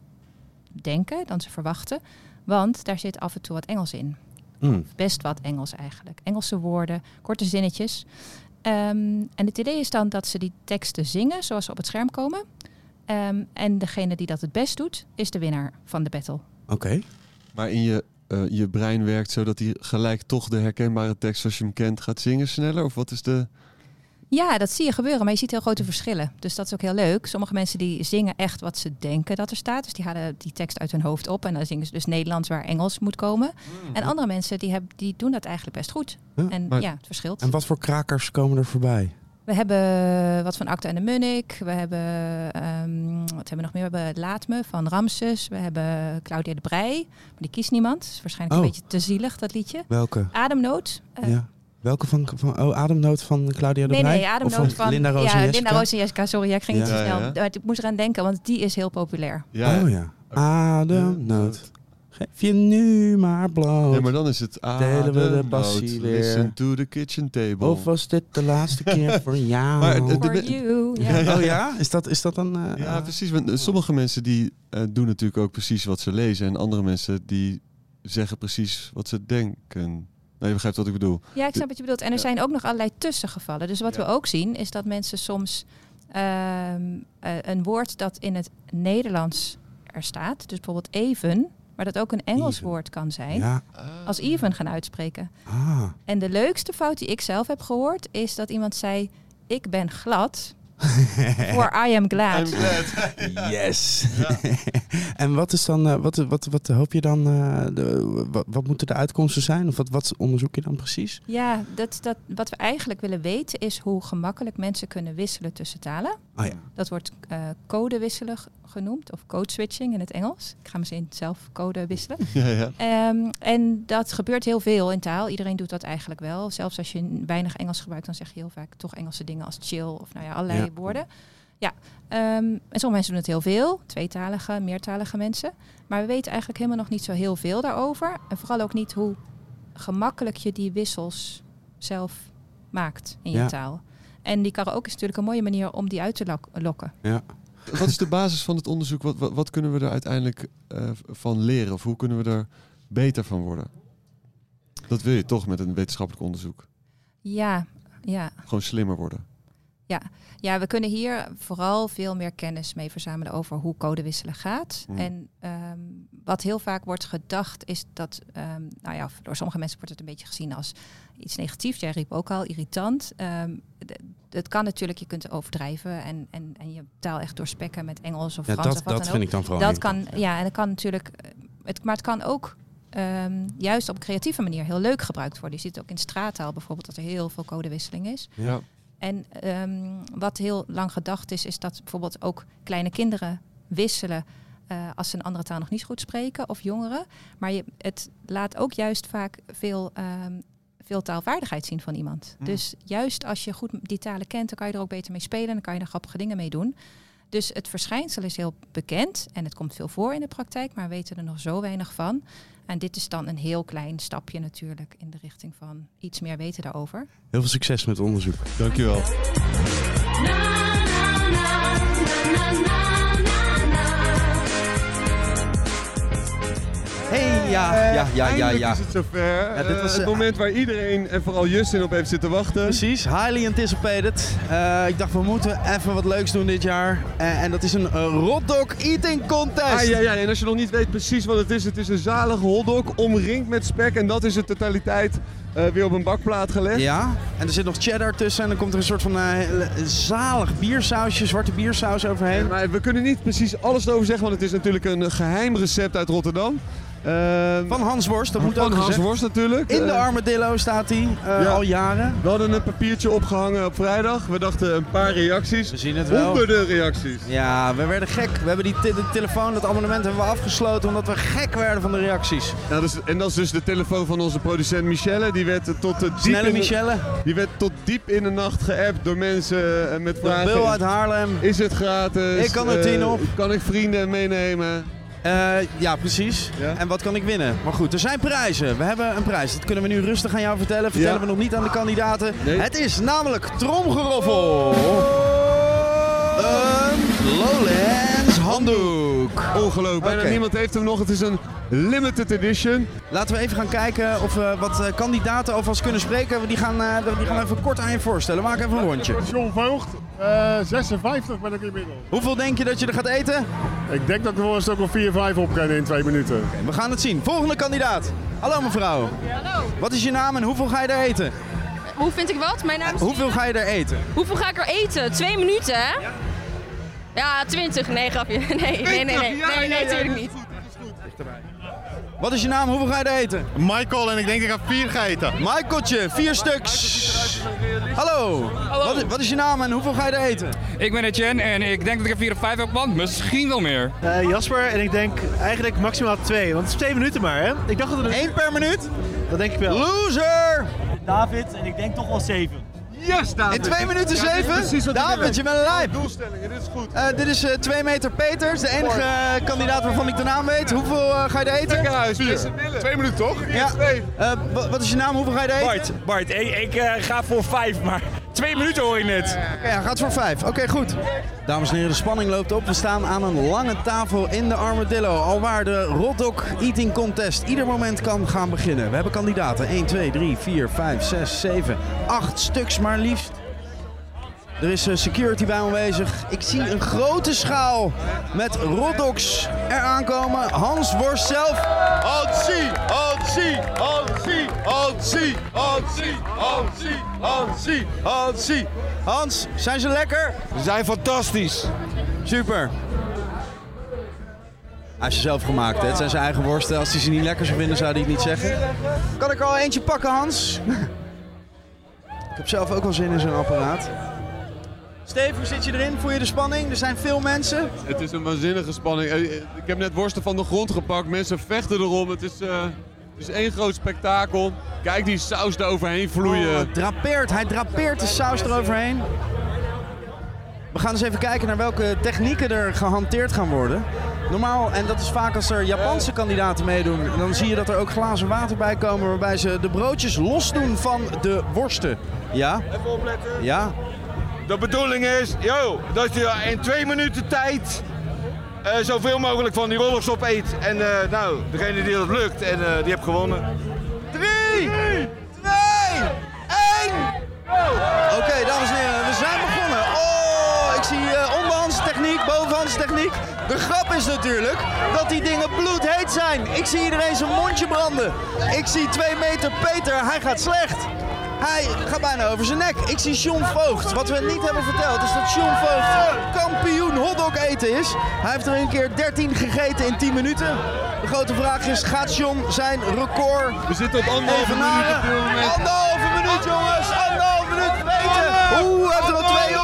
Speaker 9: denken, dan ze verwachten. Want daar zit af en toe wat Engels in.
Speaker 1: Hmm.
Speaker 9: best wat Engels eigenlijk. Engelse woorden, korte zinnetjes. Ehm, en het idee is dan dat ze die teksten zingen zoals ze op het scherm komen. Ehm, en degene die dat het best doet, is de winnaar van de battle.
Speaker 1: Oké.
Speaker 2: Maar in je, eh, je brein werkt zodat hij gelijk toch de herkenbare tekst zoals je hem kent gaat zingen sneller? Of wat is de...
Speaker 9: Ja, dat zie je gebeuren, maar je ziet heel grote verschillen. Dus dat is ook heel leuk. Sommige mensen die zingen echt wat ze denken dat er staat. Dus die halen die tekst uit hun hoofd op en dan zingen ze dus Nederlands waar Engels moet komen. En andere mensen die, hebben, die doen dat eigenlijk best goed.
Speaker 1: Hmm. Ja,
Speaker 9: en
Speaker 2: maar-
Speaker 9: ja, het verschilt.
Speaker 1: En wat voor krakers komen er voorbij?
Speaker 9: We hebben eh, wat van Acta en de Munnik. We hebben, ehm, wat hebben we nog meer? We hebben Laatme van Ramses. We hebben Claudia de Brij. Maar die kiest niemand. Het is waarschijnlijk
Speaker 1: Oh.
Speaker 9: een beetje te zielig, dat liedje.
Speaker 1: Welke?
Speaker 9: Ademnood. eh,
Speaker 1: ja. Welke van, van oh, Ademnood van Claudia de
Speaker 9: Nee,
Speaker 1: Brij?
Speaker 9: nee,
Speaker 1: Of
Speaker 9: Ademnood van,
Speaker 1: Linda Roos
Speaker 9: ja,
Speaker 1: en Jessica?
Speaker 9: Linda Roos en Jessica. Sorry, ja, ik ging
Speaker 1: Ja.
Speaker 9: niet te
Speaker 2: Ja,
Speaker 9: snel.
Speaker 2: ja.
Speaker 9: Maar Ik moest eraan denken, want die is heel populair.
Speaker 1: Oh ja. Ademnood. Geef je nu maar bloot.
Speaker 2: Nee, maar dan is het
Speaker 1: Delen we de
Speaker 2: ademnood,
Speaker 1: passie weer.
Speaker 2: Listen to the kitchen table.
Speaker 1: Of was dit de laatste
Speaker 2: <laughs>
Speaker 1: keer voor jou?
Speaker 2: Maar het- het-
Speaker 9: For
Speaker 2: de-
Speaker 9: you. Ja.
Speaker 2: Ja.
Speaker 1: Oh ja? Is dat, is dat dan... eh,
Speaker 2: ja,
Speaker 1: eh,
Speaker 2: precies. Want eh, sommige mensen die eh, doen natuurlijk ook precies wat ze lezen. En andere mensen die zeggen precies wat ze denken. Nou, je begrijpt wat ik bedoel.
Speaker 9: Ja, ik snap wat je bedoelt. En er
Speaker 2: Ja.
Speaker 9: zijn ook nog allerlei tussengevallen. Dus wat
Speaker 2: Ja.
Speaker 9: we ook zien is dat mensen soms ehm, eh, een woord dat in het Nederlands er staat, dus bijvoorbeeld even, maar dat ook een Engels
Speaker 1: Even.
Speaker 9: woord kan zijn,
Speaker 1: ja.
Speaker 9: als even gaan uitspreken.
Speaker 1: Ah.
Speaker 9: En de leukste fout die ik zelf heb gehoord is dat iemand zei: Ik ben
Speaker 1: <laughs>
Speaker 9: glad. voor I am glad.
Speaker 1: Yes. en wat is dan... eh, wat, wat, wat hoop je dan... eh, de, wat, wat moeten de uitkomsten zijn? Of wat, wat onderzoek je dan precies?
Speaker 9: Ja, dat, dat, wat we eigenlijk willen weten is hoe gemakkelijk mensen kunnen wisselen tussen talen.
Speaker 1: Ah ja.
Speaker 9: Dat wordt eh code wisselen g- genoemd, of code switching in het Engels. Ik ga misschien zelf code wisselen.
Speaker 2: Ja, ja.
Speaker 9: Ehm, en dat gebeurt heel veel in taal. Iedereen doet dat eigenlijk wel. Zelfs als je n- weinig Engels gebruikt, dan zeg je heel vaak toch Engelse dingen als chill of nou ja, allerlei
Speaker 1: Ja.
Speaker 9: woorden. Ja, ehm, en sommige mensen doen het heel veel, tweetalige, meertalige mensen. Maar we weten eigenlijk helemaal nog niet zo heel veel daarover. En vooral ook niet hoe gemakkelijk je die wissels zelf maakt in je
Speaker 1: Ja.
Speaker 9: taal. En die karaoke is natuurlijk een mooie manier om die uit te lok- lokken.
Speaker 2: Wat is de basis van het onderzoek? Wat, wat, wat kunnen we er uiteindelijk eh, van leren? Of hoe kunnen we er beter van worden? Dat wil je toch met een wetenschappelijk onderzoek.
Speaker 9: Ja, ja.
Speaker 2: Gewoon slimmer worden.
Speaker 9: Ja, we kunnen hier vooral veel meer kennis mee verzamelen over hoe codewisselen gaat.
Speaker 1: Mm.
Speaker 2: Hmm.
Speaker 9: En ehm, wat heel vaak wordt gedacht is dat, ehm, nou ja, door sommige mensen wordt het een beetje gezien als iets negatiefs. Jij riep ook al, irritant. Ehm, d- het kan natuurlijk, je kunt overdrijven en, en, en je taal echt doorspekken met Engels of
Speaker 1: ja
Speaker 9: Frans
Speaker 1: dat
Speaker 9: of wat
Speaker 1: dat
Speaker 9: dan ook.
Speaker 1: vind ik dan vooral
Speaker 9: Dat
Speaker 1: niet.
Speaker 9: kan, ja, en dat kan natuurlijk, eh, het, maar het kan ook ehm, juist op een creatieve manier heel leuk gebruikt worden. Je ziet het ook in straattaal bijvoorbeeld dat er heel veel codewisseling is.
Speaker 2: Ja.
Speaker 9: En ehm, wat heel lang gedacht is, is dat bijvoorbeeld ook kleine kinderen wisselen eh, als ze een andere taal nog niet goed spreken of jongeren. Maar je, het laat ook juist vaak veel, ehm, veel taalvaardigheid zien van iemand. Dus juist als je goed die talen kent, dan kan je er ook beter mee spelen en dan kan je er grappige dingen mee doen. Dus het verschijnsel is heel bekend en het komt veel voor in de praktijk, maar we weten er nog zo weinig van. En dit is dan een heel klein stapje natuurlijk in de richting van iets meer weten daarover.
Speaker 1: Heel veel succes met het onderzoek.
Speaker 2: Dankjewel.
Speaker 8: Na, na,
Speaker 1: Hey, ja, ja, ja, ja,
Speaker 2: Eindelijk
Speaker 1: ja.
Speaker 2: is het zover.
Speaker 1: Ja, dit
Speaker 2: Eh,
Speaker 1: was,
Speaker 2: het
Speaker 1: eh,
Speaker 2: moment waar iedereen en vooral Justin op heeft zitten wachten.
Speaker 8: Precies, highly anticipated. Eh, ik dacht, we moeten even wat leuks doen dit jaar. Eh, en dat is een eh, Rot Dog Eating Contest.
Speaker 2: Ah, ja, ja, en als je nog niet weet precies wat het is, het is een zalige hotdog omringd met spek. En dat is de totaliteit eh, weer op een bakplaat gelegd.
Speaker 8: Ja, en er zit nog cheddar tussen en dan komt er een soort van eh, hele- zalig biersausje, zwarte biersaus overheen.
Speaker 2: Maar we kunnen niet precies alles erover zeggen, want het is natuurlijk een geheim recept uit Rotterdam. Ehm,
Speaker 8: Van Hans Worst, dat moet
Speaker 2: van
Speaker 8: ook
Speaker 2: Hans
Speaker 8: gezegd.
Speaker 2: Worst natuurlijk.
Speaker 8: In de
Speaker 2: Eh,
Speaker 8: armadillo staat hij eh,
Speaker 2: Ja.
Speaker 8: al jaren.
Speaker 2: we hadden een papiertje opgehangen op vrijdag. We dachten een paar reacties.
Speaker 8: We zien het wel.
Speaker 2: Honderden reacties.
Speaker 8: Ja, we werden gek. We hebben die te- de telefoon, dat abonnement hebben we afgesloten omdat we gek werden van de reacties.
Speaker 2: Ja, dus, en dat is dus de telefoon van onze producent Michelle. Die werd eh, tot, eh, diep
Speaker 8: Snelle
Speaker 2: in de-
Speaker 8: Michelle,
Speaker 2: die werd tot diep in de nacht geappt door mensen eh, met
Speaker 8: de
Speaker 2: vragen.
Speaker 8: Bill uit Haarlem.
Speaker 2: Is het gratis?
Speaker 8: Ik kan er tien
Speaker 2: Eh,
Speaker 8: op.
Speaker 2: Kan ik vrienden meenemen?
Speaker 8: Eh, ja, precies.
Speaker 2: Ja.
Speaker 8: En wat kan ik winnen? Maar goed, er zijn prijzen. We hebben een prijs. Dat kunnen we nu rustig aan jou vertellen. Vertellen
Speaker 2: Ja.
Speaker 8: we nog niet aan de kandidaten.
Speaker 2: Nee.
Speaker 8: Het is namelijk tromgeroffel.
Speaker 2: Oh.
Speaker 8: Een Lowlands handdoek.
Speaker 2: Ongelooflijk. Bijna
Speaker 8: Oké.
Speaker 2: niemand heeft hem nog. Het is een limited edition.
Speaker 8: Laten we even gaan kijken of we wat eh, kandidaten alvast kunnen spreken. Die gaan, eh, die gaan even kort aan je voorstellen. Maak even een rondje.
Speaker 10: John Voogd, eh, 56 ben ik inmiddels.
Speaker 8: Hoeveel denk je dat je er gaat eten?
Speaker 10: Ik denk dat ik er wel een stuk of 4-5 op kan in twee minuten.
Speaker 8: We gaan het zien. Volgende kandidaat. Hallo mevrouw.
Speaker 11: Hallo,
Speaker 8: Wat is je naam en hoeveel ga je er eten?
Speaker 11: hoe vind ik wat? Mijn naam is...
Speaker 8: Hoeveel ga je er eten?
Speaker 11: Hoeveel ga ik er eten? Twee minuten, hè? Ja, twintig. Nee, grapje. <laughs> Nee, nee, nee, nee. Nee, nee, natuurlijk niet.
Speaker 8: Wat is je naam? Hoeveel ga je er eten?
Speaker 12: Michael en ik denk ik ga vier ga eten.
Speaker 8: Michaeltje, vier stuks. Hallo. Wat, i- wat is je naam en hoeveel ga je er eten?
Speaker 5: Ik ben Etienne en ik denk dat ik er 4 of 5 op land. Misschien wel meer.
Speaker 13: Eh, Jasper en ik denk eigenlijk maximaal twee, want het is twee minuten maar hè. Ik dacht dat het
Speaker 8: Eén per minuut?
Speaker 13: Dat denk ik wel.
Speaker 8: Loser!
Speaker 13: David en ik denk toch wel zeven.
Speaker 2: Yes, David.
Speaker 8: In twee minuten
Speaker 2: Ja, dit is precies
Speaker 8: zeven?
Speaker 2: wat ik
Speaker 8: David,
Speaker 2: wil.
Speaker 8: je bent lijp.
Speaker 2: Doelstellingen, dit is goed.
Speaker 8: Eh, dit is eh 2 meter Peters, de enige eh, kandidaat waarvan ik de naam weet. Hoeveel eh, ga je er eten?
Speaker 2: Huis, mensen willen. Twee minuten toch? Ja. Twee.
Speaker 8: Eh, wa- wat is je naam? Hoeveel ga je er eten? Bart.
Speaker 5: Bart, ik, eh, ga voor 5, maar <laughs> 2 minuten hoor je net.
Speaker 8: Oké, hij gaat voor vijf. Oké, goed. Dames en heren, de spanning loopt op. We staan aan een lange tafel in de Armadillo. Alwaar de Rotdog Eating Contest ieder moment kan gaan beginnen. We hebben kandidaten. 1, 2, 3, 4, 5, 6, 7, 8 stuks maar liefst. Er is eh, security bij aanwezig. Ik zie een grote schaal met Rotdogs eraan komen. Hans Worst zelf
Speaker 12: Hansie, Hansie, Hansie, Hansie, Hansie, Hansie, Hansie, Hansie.
Speaker 8: Hans, zijn ze lekker? Ze zijn fantastisch. Super. Hij is ze zelf gemaakt, hè? het zijn zijn eigen worsten. Als hij ze niet lekker zou vinden, zou hij het niet zeggen. Kan ik er al eentje pakken, Hans? <laughs> ik heb zelf ook wel zin in zo'n apparaat. Steve, hoe zit je erin? Voel je de spanning? Er zijn veel mensen.
Speaker 2: Het is een waanzinnige spanning. Eh, eh, Ik heb net worsten van de grond gepakt. Mensen vechten erom. Het is, eh, het is één groot spektakel. Kijk die saus daar overheen
Speaker 8: Oh,
Speaker 2: vloeien.
Speaker 8: het drapeert. Hij drapeert de saus eroverheen. We gaan eens even kijken naar welke technieken er gehanteerd gaan worden. Normaal, en dat is vaak als er Japanse kandidaten meedoen, dan zie je dat er ook glazen water bij komen waarbij ze de broodjes losdoen van de worsten. Ja? Even opletten. Ja.
Speaker 12: De bedoeling is, yo, dat je in twee minuten tijd eh, zoveel mogelijk van die rollers opeet. En eh, nou, degene die dat lukt, en eh, die heeft gewonnen.
Speaker 8: 3, 2, 1. Oké, dames en heren, we zijn begonnen. Oh, ik zie eh, onderhandse techniek, bovenhandse techniek. De grap is natuurlijk dat die dingen bloedheet zijn. Ik zie iedereen zijn mondje branden. Ik zie 2 meter Peter, hij gaat slecht. Hij gaat bijna over zijn nek. Ik zie John Voogd. Wat we niet hebben verteld is dat John Voogd kampioen hotdog eten is. Hij heeft er een keer 13 gegeten in 10 minuten. De grote vraag is, gaat John zijn record
Speaker 2: We zitten op anderhalve minuut
Speaker 8: Evenaren.
Speaker 2: op dit moment.
Speaker 8: Anderhalve minuut, jongens. Anderhalve minuut weten. Oeh, hij heeft er al twee op.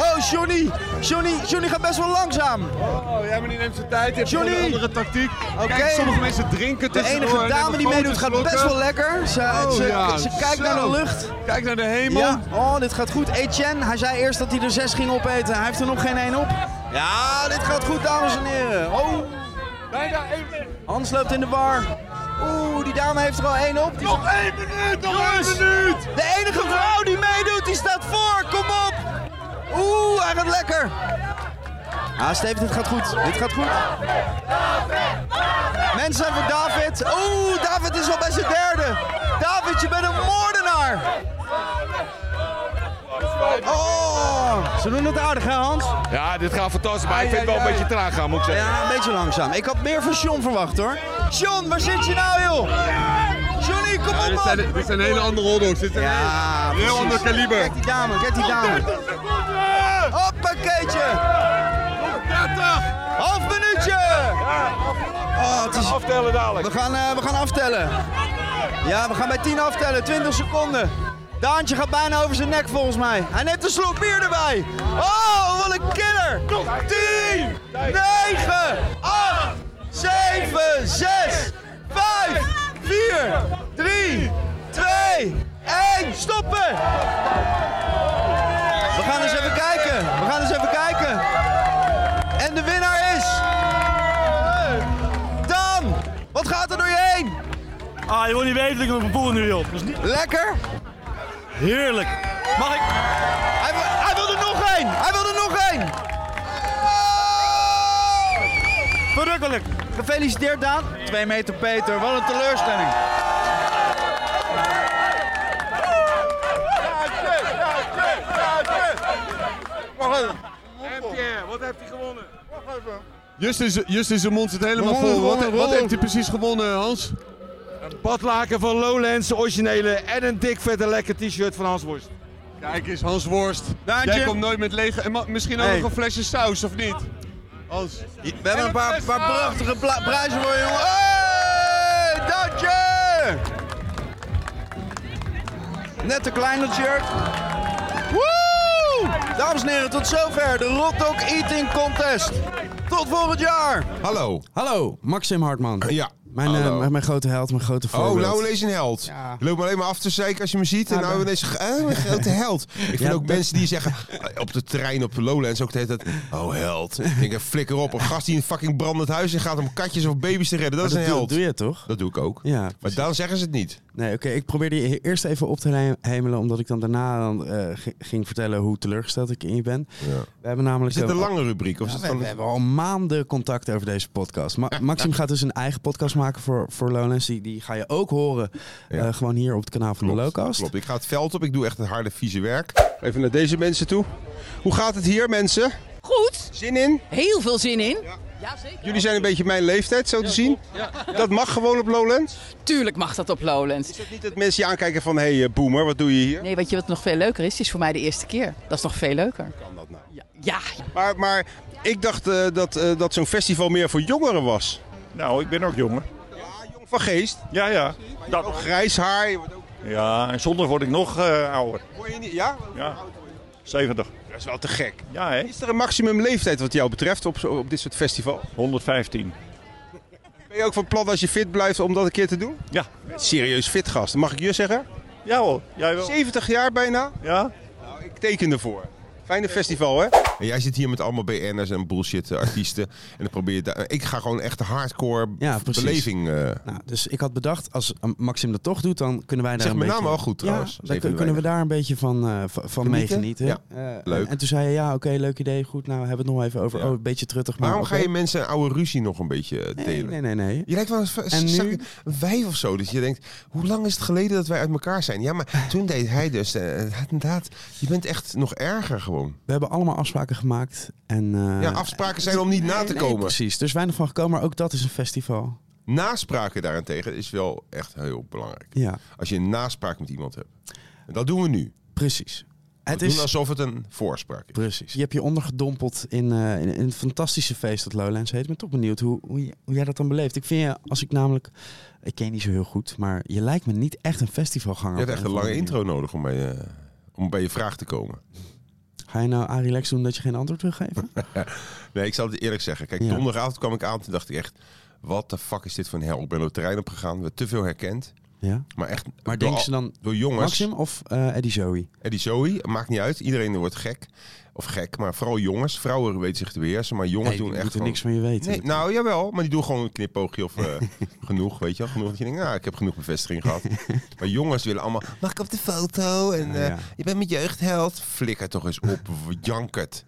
Speaker 8: Oh, Johnny. Johnny, Johnny gaat best wel langzaam.
Speaker 2: Oh, ja, maar die neemt zijn tijd. Die heeft
Speaker 8: Johnny!
Speaker 2: een andere tactiek.
Speaker 8: Oké.
Speaker 2: Kijk, sommige mensen drinken
Speaker 8: De
Speaker 2: tussendoor. en
Speaker 8: enige
Speaker 2: nemen
Speaker 8: dame die
Speaker 2: grote
Speaker 8: meedoet gaat
Speaker 2: slokken.
Speaker 8: best wel lekker. Ze,
Speaker 2: Oh,
Speaker 8: ze,
Speaker 2: ja,
Speaker 8: ze kijkt naar
Speaker 2: zo.
Speaker 8: de lucht.
Speaker 2: Kijk naar de hemel.
Speaker 8: Ja, oh, dit gaat goed. Etienne, hij zei eerst dat hij er zes ging opeten. Hij heeft er nog geen één op. Ja, dit gaat goed, dames en heren. Oh. Hans loopt in de war. Oeh, die dame heeft er al één op. Die nog één minuut, nog één minuut. De enige vrouw die meedoet, die staat voor. Kom op. Oeh, hij gaat lekker. Ah, Steven, dit gaat goed. Dit gaat goed. Mensen voor David. Oeh, David is al bij zijn derde. David, je bent een moordenaar. Oh, ze doen het aardig hè Hans?
Speaker 12: Ja, dit gaat fantastisch, maar ik vind het wel een beetje traag gaan, moet ik zeggen.
Speaker 8: Ja, een beetje langzaam. Ik had meer van John verwacht hoor. John, waar zit je nou joh? Johnny, kom op man.
Speaker 3: Dit, zijn hele andere hotdogs. Dit zijn
Speaker 8: ja,
Speaker 3: een heel
Speaker 8: precies.
Speaker 3: ander kaliber.
Speaker 8: Kijk die dame, kijk die dame. Hoppakeetje. 30. Half minuutje. Oh, het is...
Speaker 12: Aftellen dadelijk.
Speaker 8: We gaan, eh, we gaan aftellen. Ja, we gaan bij 10 aftellen. 20 seconden. Daantje gaat bijna over zijn nek volgens mij. Hij neemt een slok bier erbij. Oh, wat een killer. 10, 9, 8, 7, 6, 5, 4, 3, 2, 1. Stoppen. We gaan eens even kijken. We gaan eens even kijken. En de winnaar is... Dan, wat gaat er door je heen?
Speaker 10: Ah, je wil niet weten dat ik mijn poel nu joh. Dat is niet...
Speaker 8: Lekker?
Speaker 10: Heerlijk. Mag ik?
Speaker 8: Hij, wil- hij wil er nog één! Hij wil er nog één!
Speaker 10: Verrukkelijk!
Speaker 8: Gefeliciteerd Daan. 2 meter Peter, wat een teleurstelling.
Speaker 12: En Pierre, wat heeft hij gewonnen?
Speaker 2: Justin, Z- Justin zijn mond zit helemaal
Speaker 12: Gewonnen,
Speaker 2: vol. Wat,
Speaker 12: gewonnen,
Speaker 2: wat heeft
Speaker 12: gewonnen.
Speaker 2: hij precies gewonnen, Hans?
Speaker 12: Een badlaken van Lowlands, de originele, en een dik vette lekker t-shirt van Hans Worst.
Speaker 2: Kijk eens, Hans Worst.
Speaker 8: Daantje.
Speaker 2: Jij komt nooit met lege... En ma- misschien ook
Speaker 8: Hey.
Speaker 2: nog een flesje saus, of niet? Hans.
Speaker 8: We hebben een paar, paar prachtige pla- prijzen voor je, jongen. Hey, dankje! Net een kleiner shirt. Woe! Dames en heren, tot zover de Rotdog Eating Contest. Tot volgend jaar!
Speaker 1: Hallo. Hallo, Maxim Hartman.
Speaker 14: ja,
Speaker 1: Mijn, eh,
Speaker 14: hallo.
Speaker 1: mijn, mijn grote held, mijn grote
Speaker 14: Oh,
Speaker 1: voorbeeld.
Speaker 14: nou ineens een held. Je loopt me alleen maar af te zeiken als je me ziet. En
Speaker 1: Ja,
Speaker 14: nou
Speaker 1: dat-
Speaker 14: ineens eh, een grote
Speaker 1: <laughs>
Speaker 14: held. Ik vind
Speaker 1: Ja,
Speaker 14: ook
Speaker 1: dat-
Speaker 14: mensen die zeggen eh, op de terrein op de Lowlands ook de hele tijd... Oh, held. Ik denk, eh, flikker op. Een gast die in een fucking brandend huis en gaat om katjes of baby's te redden. Dat is
Speaker 1: Maar
Speaker 14: een
Speaker 1: doe-
Speaker 14: held.
Speaker 1: doe je toch?
Speaker 14: Dat doe ik ook.
Speaker 1: Ja.
Speaker 14: Maar dan zeggen ze het niet.
Speaker 1: Nee, oké, ik probeerde je eerst even op te he- hemelen, omdat ik dan daarna dan, eh, g- ging vertellen hoe teleurgesteld ik in je ben. We hebben namelijk...
Speaker 14: Is dit
Speaker 1: eh,
Speaker 14: een
Speaker 1: al-
Speaker 14: lange rubriek? Of
Speaker 1: Ja,
Speaker 14: is het
Speaker 1: we,
Speaker 14: gewoon-
Speaker 1: we hebben al maanden contact over deze
Speaker 14: <laughs>
Speaker 1: podcast. Ma- Maxim gaat dus een eigen podcast maken voor, voor Lowlands. Die, die ga je ook horen eh, gewoon hier op het kanaal van de Lowcast.
Speaker 14: Klopt, ik ga het veld op. Ik doe echt het harde, vieze werk. Even naar deze mensen toe. Hoe gaat het hier, mensen?
Speaker 15: Goed.
Speaker 14: Zin in?
Speaker 15: Heel veel zin in. Ja, zeker.
Speaker 14: Jullie zijn een beetje mijn leeftijd, zo te zien. Dat mag gewoon op Lowlands?
Speaker 15: Tuurlijk mag dat op Lowlands.
Speaker 14: Is het niet dat mensen je aankijken van... hé, hey, eh, boomer, wat doe je hier?
Speaker 15: Nee, weet je wat nog veel leuker is? Het is voor mij de eerste keer. Dat is nog veel leuker.
Speaker 14: Kan dat nou?
Speaker 15: Ja. ja.
Speaker 14: Maar, maar ik dacht eh, dat, eh, dat zo'n festival meer voor jongeren was.
Speaker 16: Nou, ik ben ook jonger.
Speaker 14: Jong van geest.
Speaker 16: Ja, ja. Dat
Speaker 14: ook grijs haar.
Speaker 16: Ja, en zondag word ik nog eh, ouder.
Speaker 14: Word je niet, ja?
Speaker 16: Ja. 70.
Speaker 14: Dat is wel te gek.
Speaker 16: Ja, hè?
Speaker 14: Is er een maximum leeftijd wat jou betreft op, zo- op dit soort festival?
Speaker 16: 115.
Speaker 14: Ben je ook van plan als je fit blijft om dat een keer te doen?
Speaker 16: Ja.
Speaker 14: Serieus fit gast, mag ik je zeggen?
Speaker 16: Ja hoor, jij wel.
Speaker 14: 70 jaar bijna?
Speaker 16: Ja.
Speaker 14: Nou, ik teken ervoor. Fijne festival, hè? En jij zit hier met allemaal BN'ers en bullshit eh, artiesten. en dan probeer je daar... Ik ga gewoon echt de hardcore
Speaker 1: Ja, precies.
Speaker 14: beleving... eh,
Speaker 1: Nou, dus ik had bedacht, als eh, Maxim dat toch doet, dan kunnen wij daar
Speaker 14: Zeg
Speaker 1: een
Speaker 14: mijn
Speaker 1: beetje...
Speaker 14: naam wel goed, trouwens.
Speaker 1: Ja,
Speaker 14: Dat is
Speaker 1: dan
Speaker 14: even
Speaker 1: kun- kunnen we daar een beetje van, eh, van- van
Speaker 14: Genieten?
Speaker 1: meegenieten.
Speaker 14: Ja,
Speaker 1: Eh,
Speaker 14: leuk.
Speaker 1: En toen zei je, ja, oké, leuk idee, goed. Nou, we hebben we het nog even over. Oh, een beetje truttig, maar
Speaker 14: Waarom ga
Speaker 1: oké.
Speaker 14: je mensen een oude ruzie nog een beetje eh,
Speaker 1: Nee,
Speaker 14: delen?
Speaker 1: nee, nee, nee.
Speaker 14: Je lijkt wel een, v-
Speaker 1: En
Speaker 14: zak-
Speaker 1: nu?
Speaker 14: een wijf of zo. Dat je denkt, hoe lang is het geleden dat wij uit elkaar zijn? Ja,
Speaker 1: <laughs>
Speaker 14: maar toen deed hij dus. eh, inderdaad, je bent echt nog erger gewoon.
Speaker 1: We hebben allemaal afspraken gemaakt. En, eh,
Speaker 14: ja, afspraken zijn om niet na te
Speaker 1: nee,
Speaker 14: komen.
Speaker 1: precies, er is weinig van gekomen, maar ook dat is een festival.
Speaker 14: Naspraken daarentegen is wel echt heel belangrijk.
Speaker 1: Ja,
Speaker 14: Als je een naspraak met iemand hebt. En dat doen we nu.
Speaker 1: precies.
Speaker 14: We
Speaker 1: Het
Speaker 14: doen
Speaker 1: is-
Speaker 14: alsof het een voorspraak is.
Speaker 1: Precies. Je hebt je ondergedompeld in, eh, in, in het fantastische feest dat Lowlands heet. Ik ben toch benieuwd hoe, hoe, je- hoe jij dat dan beleeft. Ik vind je, als ik namelijk... Ik ken je niet zo heel goed, maar je lijkt me niet echt een festivalganger.
Speaker 14: Je hebt
Speaker 1: op
Speaker 14: echt een
Speaker 1: of
Speaker 14: lange
Speaker 1: andere
Speaker 14: intro nodig om bij, je- om bij je vraag te komen.
Speaker 1: manier. Ga je nou aan relax doen dat je geen antwoord wil
Speaker 14: <laughs>
Speaker 1: geven?
Speaker 14: Nee, ik zal het eerlijk zeggen. Kijk,
Speaker 1: Ja.
Speaker 14: donderdagavond kwam ik aan. Toen dacht ik echt, wat de fuck is dit voor een hel? Ik ben op het terrein opgegaan. We te veel herkend.
Speaker 1: Ja.
Speaker 14: Maar echt door
Speaker 1: Maar denken
Speaker 14: al-
Speaker 1: ze dan
Speaker 14: door jongens.
Speaker 1: Maxim of eh Eddie Zoe?
Speaker 14: Eddie Zoe, maakt niet uit. Iedereen wordt gek. Of gek, maar vooral jongens. Vrouwen weten zich te beheersen, maar jongens
Speaker 1: Nee, die
Speaker 14: doen echt
Speaker 1: moeten
Speaker 14: gewoon...
Speaker 1: niks van je weten.
Speaker 14: Nee, nou, jawel. Maar die doen gewoon een knipoogje of eh, <laughs> genoeg, weet je wel. Genoeg dat je denkt, nou, ik heb genoeg bevestiging
Speaker 1: <laughs>
Speaker 14: gehad. maar jongens willen allemaal, mag ik op de foto? En eh,
Speaker 1: Ah, ja.
Speaker 14: je bent mijn jeugdheld. Flikker toch eens op, jankert.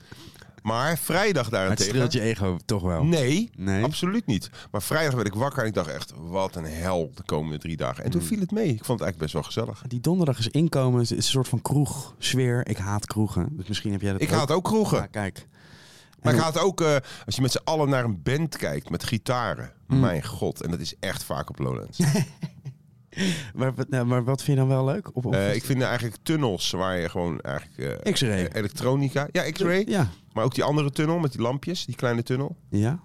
Speaker 14: Maar vrijdag
Speaker 1: Maar het
Speaker 14: daarentegen...
Speaker 1: streelt je ego toch wel?
Speaker 14: Nee, absoluut niet. Maar vrijdag werd ik wakker en ik dacht echt, wat een hel de komende drie dagen. En
Speaker 1: Mm.
Speaker 14: toen viel het mee. Ik vond het eigenlijk best wel gezellig.
Speaker 1: Die donderdag is inkomen, het is een soort van kroegsfeer. Ik haat kroegen, dus misschien heb jij dat
Speaker 14: Ik haat ook kroegen.
Speaker 1: Ja, kijk.
Speaker 14: Maar ik
Speaker 1: En-
Speaker 14: haat ook, eh, als je met z'n allen naar een band kijkt met gitaren.
Speaker 1: Mm.
Speaker 14: Mijn god, en dat is echt vaak op
Speaker 1: <laughs>
Speaker 14: Lowlands. Eh,
Speaker 1: Maar, wat- nou, maar wat vind je dan wel leuk? Op, op
Speaker 14: Eh, ik vind eigenlijk tunnels waar je gewoon eigenlijk... eh,
Speaker 1: X-ray.
Speaker 14: eh, Elektronica. Ja, X-ray.
Speaker 1: Ja.
Speaker 14: Maar ook die andere tunnel met die lampjes, die kleine tunnel.
Speaker 1: Ja?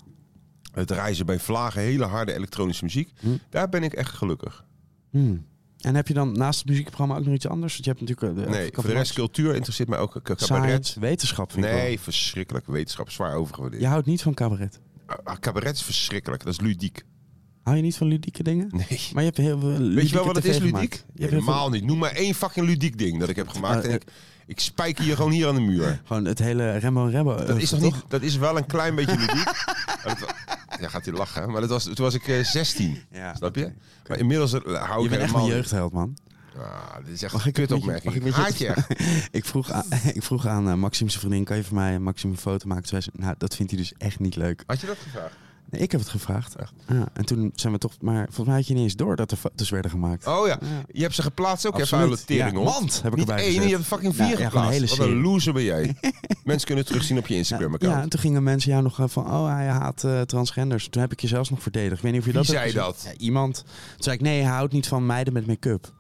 Speaker 14: Het reizen bij vlagen, hele harde elektronische muziek.
Speaker 1: Hm.
Speaker 14: Daar ben ik echt gelukkig.
Speaker 1: Hmm. En heb je dan naast het muziekprogramma ook nog iets anders? Want je hebt natuurlijk... eh, de-
Speaker 14: nee,
Speaker 1: Kapoor-
Speaker 14: voor de rest cultuur interesseert mij ook. eh, Cabaret.
Speaker 1: Science, wetenschap vind ik wel.
Speaker 14: Nee, verschrikkelijk. Wetenschap, zwaar overgewaardeerd.
Speaker 1: Je houdt niet van cabaret.
Speaker 14: Ah, Cabaret is verschrikkelijk, dat is ludiek.
Speaker 1: Hou je niet van ludieke dingen?
Speaker 14: Nee.
Speaker 1: Maar je hebt heel veel ludieke
Speaker 14: Weet je wel wat het
Speaker 1: TV
Speaker 14: is,
Speaker 1: gemaakt.
Speaker 14: ludiek?
Speaker 1: Je hebt heel veel-
Speaker 14: Helemaal niet. Noem maar één fucking ludiek ding dat ik heb gemaakt. En ik, ik spijk hier gewoon hier aan de muur.
Speaker 1: eh, <laughs> Gewoon eh, het hele Rembo en Rembo.
Speaker 14: Dat is, toch niet, dat is wel een klein beetje
Speaker 1: <laughs>
Speaker 14: ludiek. Maar dat wa- ja, gaat hij lachen. hè? Maar dat was, toen was ik eh, 16.
Speaker 1: Ja,
Speaker 14: snap je? Maar inmiddels eh, hou
Speaker 1: Je
Speaker 14: ik
Speaker 1: bent echt
Speaker 14: helemaal...
Speaker 1: een jeugdheld, man.
Speaker 14: Ah, dit is echt
Speaker 1: Mag
Speaker 14: een
Speaker 1: ik een beetje-
Speaker 14: kutopmerking.
Speaker 1: mag ik een
Speaker 14: Haat je
Speaker 1: beetje-
Speaker 14: echt.
Speaker 1: <laughs> ik, vroeg aan, ik vroeg aan eh, Maxim zijn vriendin, kan je voor mij eh, Maxim een foto maken? Toen zei ze, nou, dat vindt hij dus echt niet leuk.
Speaker 14: Had je dat gevraagd?
Speaker 1: Nee, ik heb het gevraagd. Ja, en toen zijn we toch, maar volgens mij had je niet eens door dat er foto's werden gemaakt.
Speaker 14: Oh ja, je hebt ze geplaatst ook. Je hebt
Speaker 1: Absoluut.
Speaker 14: vuile tering,
Speaker 1: Ja,
Speaker 14: hond.
Speaker 1: mand heb ik
Speaker 14: Niet
Speaker 1: erbij
Speaker 14: één,
Speaker 1: gezet.
Speaker 14: je hebt fucking
Speaker 1: Ja,
Speaker 14: vier
Speaker 1: ja, gewoon een
Speaker 14: geplaatst.
Speaker 1: hele
Speaker 14: Wat een
Speaker 1: serie.
Speaker 14: loser ben jij.
Speaker 1: <laughs>
Speaker 14: Mensen kunnen het terugzien op je Instagram-account.
Speaker 1: Ja, en toen gingen mensen jou nog eh, van, oh, hij haat eh, transgenders. Toen heb ik je zelfs nog verdedigd. Ik weet niet of je
Speaker 14: Wie
Speaker 1: dat hebt
Speaker 14: zei
Speaker 1: gezien.
Speaker 14: dat?
Speaker 1: Ja, iemand. Toen zei ik, nee, hij houdt niet van meiden met make-up.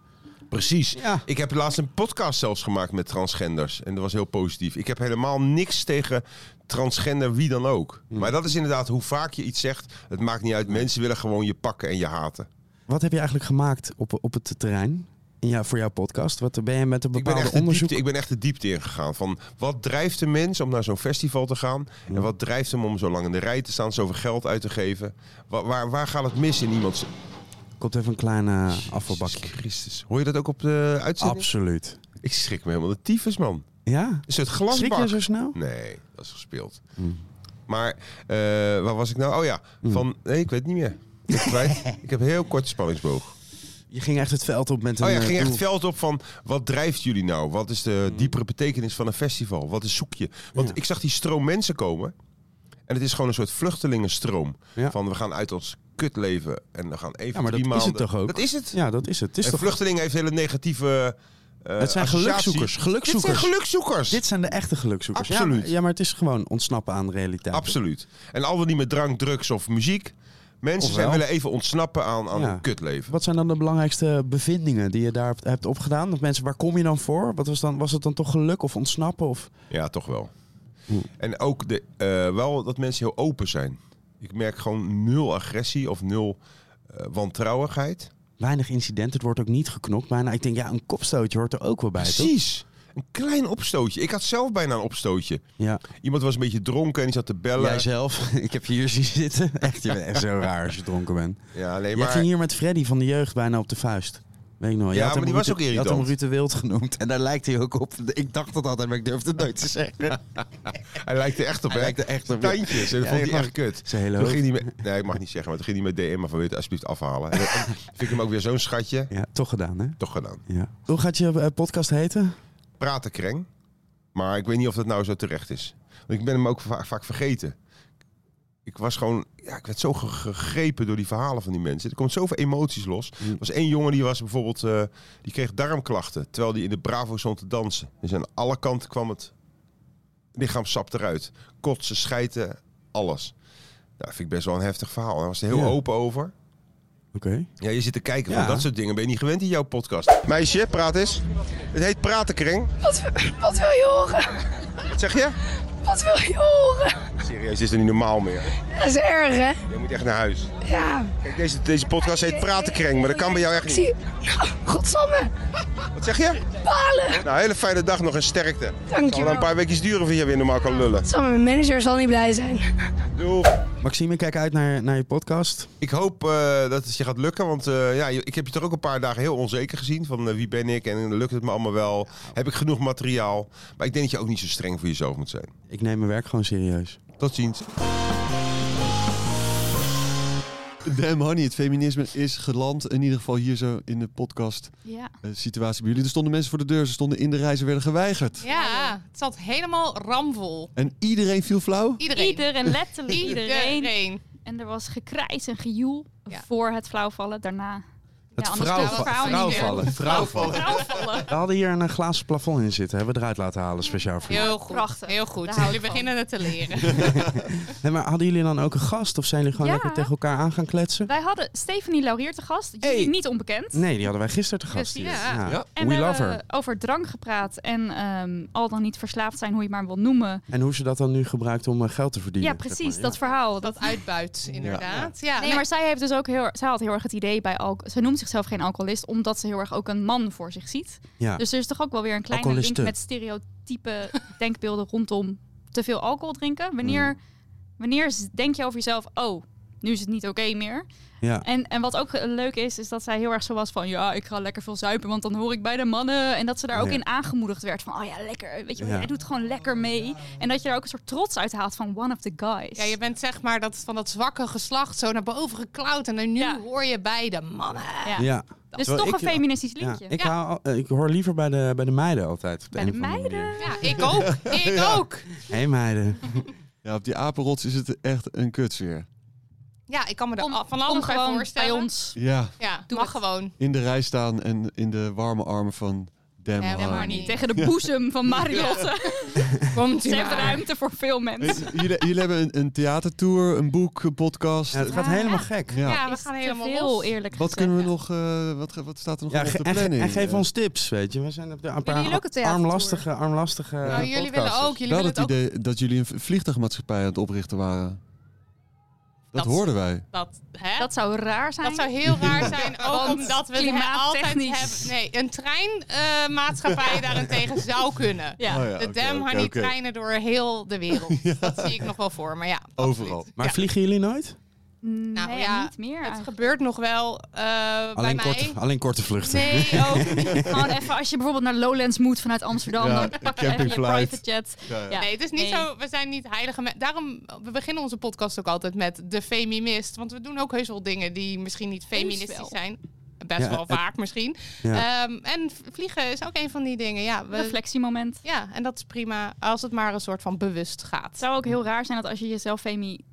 Speaker 14: Precies. Ik heb laatst een podcast zelfs gemaakt met transgenders. En dat was heel positief. Ik heb helemaal niks tegen transgender wie dan ook.
Speaker 1: Hmm.
Speaker 14: Maar dat is inderdaad hoe vaak je iets zegt. Het maakt niet uit. Mensen willen gewoon je pakken en je haten.
Speaker 1: Wat heb je eigenlijk gemaakt op, op het terrein? In jou, voor jouw podcast? Wat ben je met een
Speaker 14: Ik ben,
Speaker 1: bepaalde
Speaker 14: echt de
Speaker 1: onderzoek?
Speaker 14: diepte, ik ben echt de diepte ingegaan. Van wat drijft de mens om naar zo'n festival te gaan?
Speaker 1: Hmm.
Speaker 14: En wat drijft hem om zo lang in de rij te staan, zoveel geld uit te geven? Wa- waar, waar gaat het mis in iemands...
Speaker 1: Komt even een kleine eh, afvalbakje.
Speaker 14: Christus. Hoor je dat ook op de uitzending?
Speaker 1: Absoluut.
Speaker 14: Ik schrik me helemaal de tyfus, man.
Speaker 1: Ja?
Speaker 14: Is het glasbak?
Speaker 1: Schrik je zo snel?
Speaker 14: Nee, dat is gespeeld.
Speaker 1: Hm.
Speaker 14: Maar eh, waar was ik nou? Oh ja, van... Nee, ik weet het niet meer. Ik ben het kwijt.
Speaker 1: <laughs>
Speaker 14: ik heb een heel korte spanningsboog.
Speaker 1: Je ging echt het veld op met een...
Speaker 14: Oh ja,
Speaker 1: eh,
Speaker 14: ging echt het
Speaker 1: doel.
Speaker 14: veld op van wat drijft jullie nou? Wat is de
Speaker 1: Hm.
Speaker 14: diepere betekenis van een festival? Wat is zoek je? Want ik zag die stroom mensen komen. En het is gewoon een soort vluchtelingenstroom.
Speaker 1: Ja.
Speaker 14: Van we gaan uit ons kutleven en we gaan even
Speaker 1: Ja, maar dat
Speaker 14: drie
Speaker 1: is
Speaker 14: maanden.
Speaker 1: het toch ook?
Speaker 14: Dat is het.
Speaker 1: Ja, dat is het. Het, is
Speaker 14: en
Speaker 1: toch...
Speaker 14: vluchteling heeft hele negatieve. eh,
Speaker 1: het zijn
Speaker 14: associatie.
Speaker 1: gelukzoekers. gelukzoekers.
Speaker 14: Dit zijn gelukzoekers.
Speaker 1: Dit zijn de echte gelukzoekers. Ja,
Speaker 14: Absoluut.
Speaker 1: maar- Ja, maar het is gewoon ontsnappen aan de realiteit.
Speaker 14: Absoluut. En al dan niet met drank, drugs of muziek. Mensen
Speaker 1: Of
Speaker 14: zijn
Speaker 1: wel.
Speaker 14: willen even ontsnappen aan, aan
Speaker 1: Ja.
Speaker 14: een kutleven.
Speaker 1: Wat zijn dan de belangrijkste bevindingen die je daar hebt- hebt opgedaan? Of mensen, waar kom je dan voor? Wat was, dan, was het dan toch geluk of ontsnappen? Of...
Speaker 14: Ja, toch wel.
Speaker 1: Hm.
Speaker 14: En ook de, eh, wel dat mensen heel open zijn. Ik merk gewoon nul agressie of nul eh, wantrouwigheid.
Speaker 1: Weinig incidenten, het wordt ook niet geknokt bijna. Ik denk, ja, een kopstootje hoort er ook wel bij, toch?
Speaker 14: Precies. Een klein opstootje. Ik had zelf bijna een opstootje.
Speaker 1: Ja.
Speaker 14: Iemand was een beetje dronken en die zat te bellen. <laughs>
Speaker 1: Jijzelf, <laughs> ik heb je hier zien zitten. <laughs> Echt, je bent echt zo raar als je dronken bent.
Speaker 14: Ja, nee,
Speaker 1: Je
Speaker 14: maar...
Speaker 1: ging hier met Freddy van de jeugd bijna op de vuist. Weet ik nog. Je
Speaker 14: Ja,
Speaker 1: had hem
Speaker 14: maar die was
Speaker 1: Ruud-
Speaker 14: ook
Speaker 1: Je had
Speaker 14: irritant.
Speaker 1: hem Ruud de Wild genoemd. En daar lijkt hij ook op. Ik dacht dat altijd, maar ik durfde het nooit te zeggen.
Speaker 14: Hij lijkt er echt op,
Speaker 1: <laughs> Hij
Speaker 14: hè?
Speaker 1: lijkt er echt op, ja.
Speaker 14: Tandjes. En dat
Speaker 1: Ja,
Speaker 14: vond
Speaker 1: ik
Speaker 14: hij
Speaker 1: mag-
Speaker 14: echt kut.
Speaker 1: Zijn hele
Speaker 14: Toen
Speaker 1: hoofd.
Speaker 14: ging hij met... Nee, ik mag niet zeggen, maar toen ging hij met DM, maar van weet je, alsjeblieft afhalen. En dan <laughs> vind ik hem ook weer zo'n schatje.
Speaker 1: Ja, toch gedaan, hè?
Speaker 14: Toch gedaan.
Speaker 1: Ja. Hoe gaat je eh, podcast heten?
Speaker 14: Praten kreng. Maar ik weet niet of dat nou zo terecht is. Want ik ben hem ook va- vaak vergeten. Ik was gewoon, ja, ik werd zo ge- gegrepen door die verhalen van die mensen. Er komt zoveel emoties los.
Speaker 1: Mm.
Speaker 14: Er was één jongen die was bijvoorbeeld, eh, die kreeg darmklachten. Terwijl die in de Bravo stond te dansen. Dus aan alle kanten kwam het lichaamssap eruit. Kotsen, schijten, alles. Nou, dat vind ik best wel een heftig verhaal. Daar was hij heel
Speaker 1: Ja.
Speaker 14: open over.
Speaker 1: Oké.
Speaker 14: Ja, je zit te kijken
Speaker 1: Ja.
Speaker 14: van dat soort dingen. Ben je niet gewend in jouw podcast. Meisje, praat eens. Het heet Pratenkring.
Speaker 17: Wat, wat wil je horen?
Speaker 14: Wat zeg je?
Speaker 17: Wat wil je horen?
Speaker 14: Serieus, dit is niet normaal meer.
Speaker 17: Dat is erg, hè?
Speaker 14: Je moet echt naar huis.
Speaker 17: Ja.
Speaker 14: Kijk, deze, deze podcast heet Pratenkreng, maar dat kan bij jou echt
Speaker 17: Ik
Speaker 14: niet.
Speaker 17: zie... Godsamme.
Speaker 14: Wat zeg je?
Speaker 17: Balen.
Speaker 14: Nou, hele fijne dag nog en sterkte. Het zal wel
Speaker 17: Dankjewel.
Speaker 14: een paar weekjes duren voor je weer normaal kan lullen.
Speaker 17: Godsamme, mijn manager zal niet blij zijn.
Speaker 14: Doeg.
Speaker 1: Maxime, kijk uit naar, naar je podcast.
Speaker 14: Ik hoop eh, dat het je gaat lukken, want eh, ja, je- ik heb je toch ook een paar dagen heel onzeker gezien. Van eh, wie ben ik en lukt het me allemaal wel? Heb ik genoeg materiaal? Maar ik denk dat je ook niet zo streng voor jezelf moet zijn.
Speaker 1: Ik neem mijn werk gewoon serieus.
Speaker 14: Tot ziens.
Speaker 2: Damn honey, het feminisme is geland. In ieder geval hier zo in de podcast
Speaker 18: Ja.
Speaker 2: eh, situatie bij jullie. Er stonden mensen voor de deur, ze stonden in de rij, ze werden geweigerd.
Speaker 18: Ja, het zat helemaal ramvol.
Speaker 2: En iedereen viel flauw?
Speaker 18: Iedereen.
Speaker 19: Iedereen, letterlijk iedereen.
Speaker 18: Iedereen.
Speaker 19: En er was gekrijs en gejoel voor het flauwvallen daarna.
Speaker 1: Het
Speaker 19: anders
Speaker 1: vrouw,
Speaker 19: kan het verhaal niet meer.
Speaker 1: vrouwvallen.
Speaker 19: Vrouwvallen.
Speaker 1: We hadden hier een eh, glazen plafond in zitten. Hebben we eruit laten halen, speciaal voor
Speaker 18: Heel goed. Heel goed. Jullie beginnen het te leren.
Speaker 1: <laughs> Nee, maar hadden jullie dan ook een gast? Of zijn jullie gewoon
Speaker 19: Ja.
Speaker 1: lekker tegen elkaar aan gaan kletsen?
Speaker 19: Wij hadden Stephanie Laurier te gast, jullie niet onbekend.
Speaker 1: Nee, die hadden wij gisteren te gast.
Speaker 19: Dus
Speaker 1: hier.
Speaker 19: ja.
Speaker 1: Ja.
Speaker 19: En
Speaker 1: We
Speaker 19: we
Speaker 1: love her.
Speaker 19: hebben over drank gepraat en ehm, al dan niet verslaafd zijn, hoe je maar wil noemen.
Speaker 1: En hoe ze dat dan nu gebruikt om eh, geld te verdienen.
Speaker 19: ja,
Speaker 1: zeg
Speaker 19: precies,
Speaker 1: maar.
Speaker 19: dat verhaal. Dat
Speaker 18: uitbuit, inderdaad. Ja.
Speaker 19: nee, maar zij, heeft dus ook heel, zij had heel erg het idee bij alcohol. Zij noemt zichzelf geen alcoholist, omdat ze heel erg ook een man voor zich ziet.
Speaker 1: Ja.
Speaker 19: Dus er is toch ook wel weer een kleine link
Speaker 1: Alcoholiste.
Speaker 19: met stereotype denkbeelden rondom te veel alcohol drinken. Wanneer, wanneer z- denk je over jezelf, oh, nu is het niet oké meer.
Speaker 1: Ja.
Speaker 19: En, en wat ook eh, leuk is, is dat zij heel erg zo was van... ja, ik ga lekker veel zuipen, want dan hoor ik bij de mannen. En dat ze daar ook
Speaker 1: Ja.
Speaker 19: in aangemoedigd werd van... oh ja, lekker, weet je wel,
Speaker 1: Ja.
Speaker 19: jij doet gewoon lekker mee. En dat je daar ook een soort trots uit haalt van one of the guys.
Speaker 18: Ja, je bent zeg maar dat, van dat zwakke geslacht zo naar boven geklauwd. En dan nu hoor je bij de mannen.
Speaker 1: Ja. Ja.
Speaker 19: Dus
Speaker 1: Terwijl
Speaker 19: toch een feministisch
Speaker 1: ja,
Speaker 19: liedje.
Speaker 1: ik,
Speaker 19: Ja.
Speaker 1: hou al- eh, ik hoor liever bij de, bij de meiden altijd. op
Speaker 19: Bij
Speaker 1: een
Speaker 19: de
Speaker 1: of andere manier.
Speaker 18: Ja, ik ook. Ik ook.
Speaker 1: Hé meiden.
Speaker 2: Ja, op die apenrots is het echt een kutsfeer.
Speaker 18: Ja, ik kan me er
Speaker 19: Kom-
Speaker 18: al- van
Speaker 19: kom
Speaker 18: alles bij
Speaker 19: gewoon
Speaker 18: voorstellen.
Speaker 19: bij ons.
Speaker 2: Ja,
Speaker 18: Ja, doe mag gewoon.
Speaker 2: in de rij staan en in de warme armen van Damn
Speaker 19: Ja,
Speaker 2: honey.
Speaker 19: maar niet. Tegen de boezem van Marilotte.
Speaker 18: Komt
Speaker 19: Ze heeft ruimte voor veel mensen.
Speaker 2: Ja. Jullie, jullie hebben een, een theatertour, een boek, een podcast.
Speaker 1: het gaat Ja. helemaal gek.
Speaker 2: Ja.
Speaker 18: Ja, we gaan helemaal los.
Speaker 19: eerlijk
Speaker 2: Wat kunnen we nog, eh, wat, ge- wat staat er nog
Speaker 1: Ja,
Speaker 2: op
Speaker 1: ge-
Speaker 2: de
Speaker 1: en, ge-
Speaker 2: planning?
Speaker 1: en geef
Speaker 2: Eh,
Speaker 1: ons tips, weet je. We zijn op de een
Speaker 18: jullie ook een
Speaker 1: paar
Speaker 18: theatertour?
Speaker 1: armlastige, armlastige
Speaker 18: Nou, jullie
Speaker 1: podcasters.
Speaker 18: willen ook, jullie
Speaker 2: wel
Speaker 18: willen
Speaker 2: het
Speaker 18: het ook.
Speaker 2: idee dat jullie een v- vliegtuigmaatschappij aan het oprichten waren. Dat, hoorden wij.
Speaker 18: Dat, hè?
Speaker 19: Dat zou raar zijn.
Speaker 18: Dat zou heel
Speaker 19: <laughs>
Speaker 18: raar zijn, ook
Speaker 19: Want
Speaker 18: omdat we het
Speaker 19: klimaattechnisch-
Speaker 18: altijd hebben... Nee, een treinmaatschappij
Speaker 19: <laughs>
Speaker 18: daarentegen zou kunnen.
Speaker 1: Ja. Oh ja,
Speaker 18: de
Speaker 1: oké,
Speaker 18: Dam
Speaker 1: oké,
Speaker 18: Honey
Speaker 1: oké.
Speaker 18: treinen door heel de
Speaker 1: <laughs>
Speaker 18: wereld. Dat zie ik nog wel voor, maar ja.
Speaker 1: Overal. Maar vliegen jullie nooit?
Speaker 18: Nou ja,
Speaker 19: Mm, niet meer
Speaker 18: het gebeurt nog wel eh, bij
Speaker 1: Alleen,
Speaker 18: mij.
Speaker 1: korte, alleen korte vluchten.
Speaker 19: Nee,
Speaker 1: <laughs>
Speaker 19: ook niet. Gewoon even als je bijvoorbeeld naar Lowlands moet vanuit Amsterdam,
Speaker 1: Ja,
Speaker 19: dan
Speaker 1: een
Speaker 19: pak je even je
Speaker 1: campingflight.
Speaker 19: private jet.
Speaker 1: Ja, ja.
Speaker 18: Nee, het is niet
Speaker 19: Nee.
Speaker 18: zo. We zijn niet heilige mensen. Daarom we beginnen onze podcast ook altijd met de feminist. Want we doen ook heus wel dingen die misschien niet feministisch zijn. Best
Speaker 19: Ja,
Speaker 18: wel
Speaker 19: het-
Speaker 18: vaak misschien.
Speaker 19: Ja.
Speaker 18: Ehm, en v- vliegen is ook een van die dingen. Ja, we-
Speaker 19: Reflectiemoment.
Speaker 18: Ja, en dat is prima als het maar een soort van bewust gaat.
Speaker 19: Het zou ook heel raar zijn dat als je jezelf feminist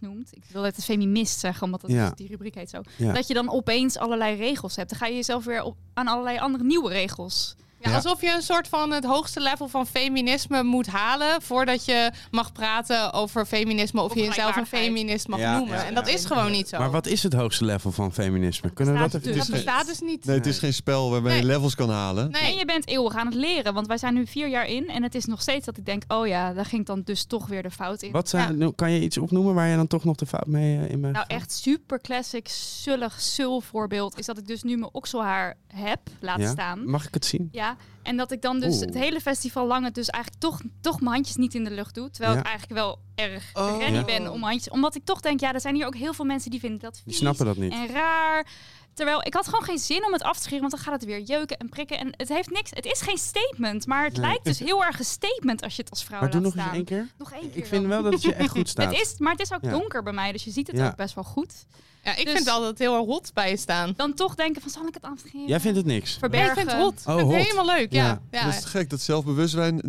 Speaker 19: noemt, ik wil het feminist zeggen, omdat dat
Speaker 18: Ja.
Speaker 19: is- die rubriek heet zo,
Speaker 18: Ja.
Speaker 19: dat je dan opeens allerlei regels hebt. Dan ga je jezelf weer op, aan allerlei andere nieuwe regels.
Speaker 18: Ja, alsof je een soort van het hoogste level van feminisme moet halen voordat je mag praten over feminisme of je jezelf een feminist mag
Speaker 1: Ja,
Speaker 18: noemen.
Speaker 1: ja,
Speaker 18: en dat is gewoon niet zo.
Speaker 1: Maar wat is het hoogste level van feminisme? Kunnen we dat even
Speaker 18: dat bestaat dus niet.
Speaker 2: Nee, het is geen spel waarmee je levels kan halen.
Speaker 19: En je bent eeuwig aan het leren, want wij zijn nu vier jaar in en het is nog steeds dat ik denk, oh ja, daar ging dan dus toch weer de fout in.
Speaker 1: Wat zijn, nou, kan je iets opnoemen waar je dan toch nog de fout mee eh, in bent?
Speaker 19: Nou, echt super classic, zullig, zul voorbeeld is dat ik dus nu mijn okselhaar heb laten
Speaker 1: Ja?
Speaker 19: staan.
Speaker 1: Mag ik het zien?
Speaker 19: Ja, en dat ik dan dus
Speaker 1: Oeh.
Speaker 19: het hele festival lang het dus eigenlijk toch, toch mijn handjes niet in de lucht doe. Terwijl
Speaker 1: Ja.
Speaker 19: ik eigenlijk wel erg
Speaker 1: Oh.
Speaker 19: ready
Speaker 1: Ja.
Speaker 19: ben om handjes. Omdat ik toch denk, ja, er zijn hier ook heel veel mensen die vinden dat
Speaker 1: Die
Speaker 19: vies
Speaker 1: snappen dat niet.
Speaker 19: en raar. Terwijl ik had gewoon geen zin om het af te scheren, want dan gaat het weer jeuken en prikken. En het heeft niks. Het is geen statement, maar het
Speaker 1: Nee.
Speaker 19: lijkt dus heel erg een statement als je het als vrouw
Speaker 1: Maar doe
Speaker 19: laat
Speaker 1: nog eens
Speaker 19: staan.
Speaker 1: één keer.
Speaker 19: Nog één keer.
Speaker 1: Ik vind wel dat het je
Speaker 19: <laughs>
Speaker 1: echt goed staat.
Speaker 19: Het is, maar het is ook
Speaker 1: Ja.
Speaker 19: donker bij mij, dus je ziet het
Speaker 1: Ja.
Speaker 19: ook best wel goed. Dus
Speaker 18: Ja, ik vind het altijd heel hot bij je staan.
Speaker 19: Dan toch denken van, zal ik het afscheren?
Speaker 1: Jij vindt het niks?
Speaker 19: Verbergen.
Speaker 18: Nee, ik vind het hot.
Speaker 1: Oh, Ik vind het hot.
Speaker 18: helemaal leuk, ja. Ja.
Speaker 2: Dat is te gek, dat zelfbewustzijn,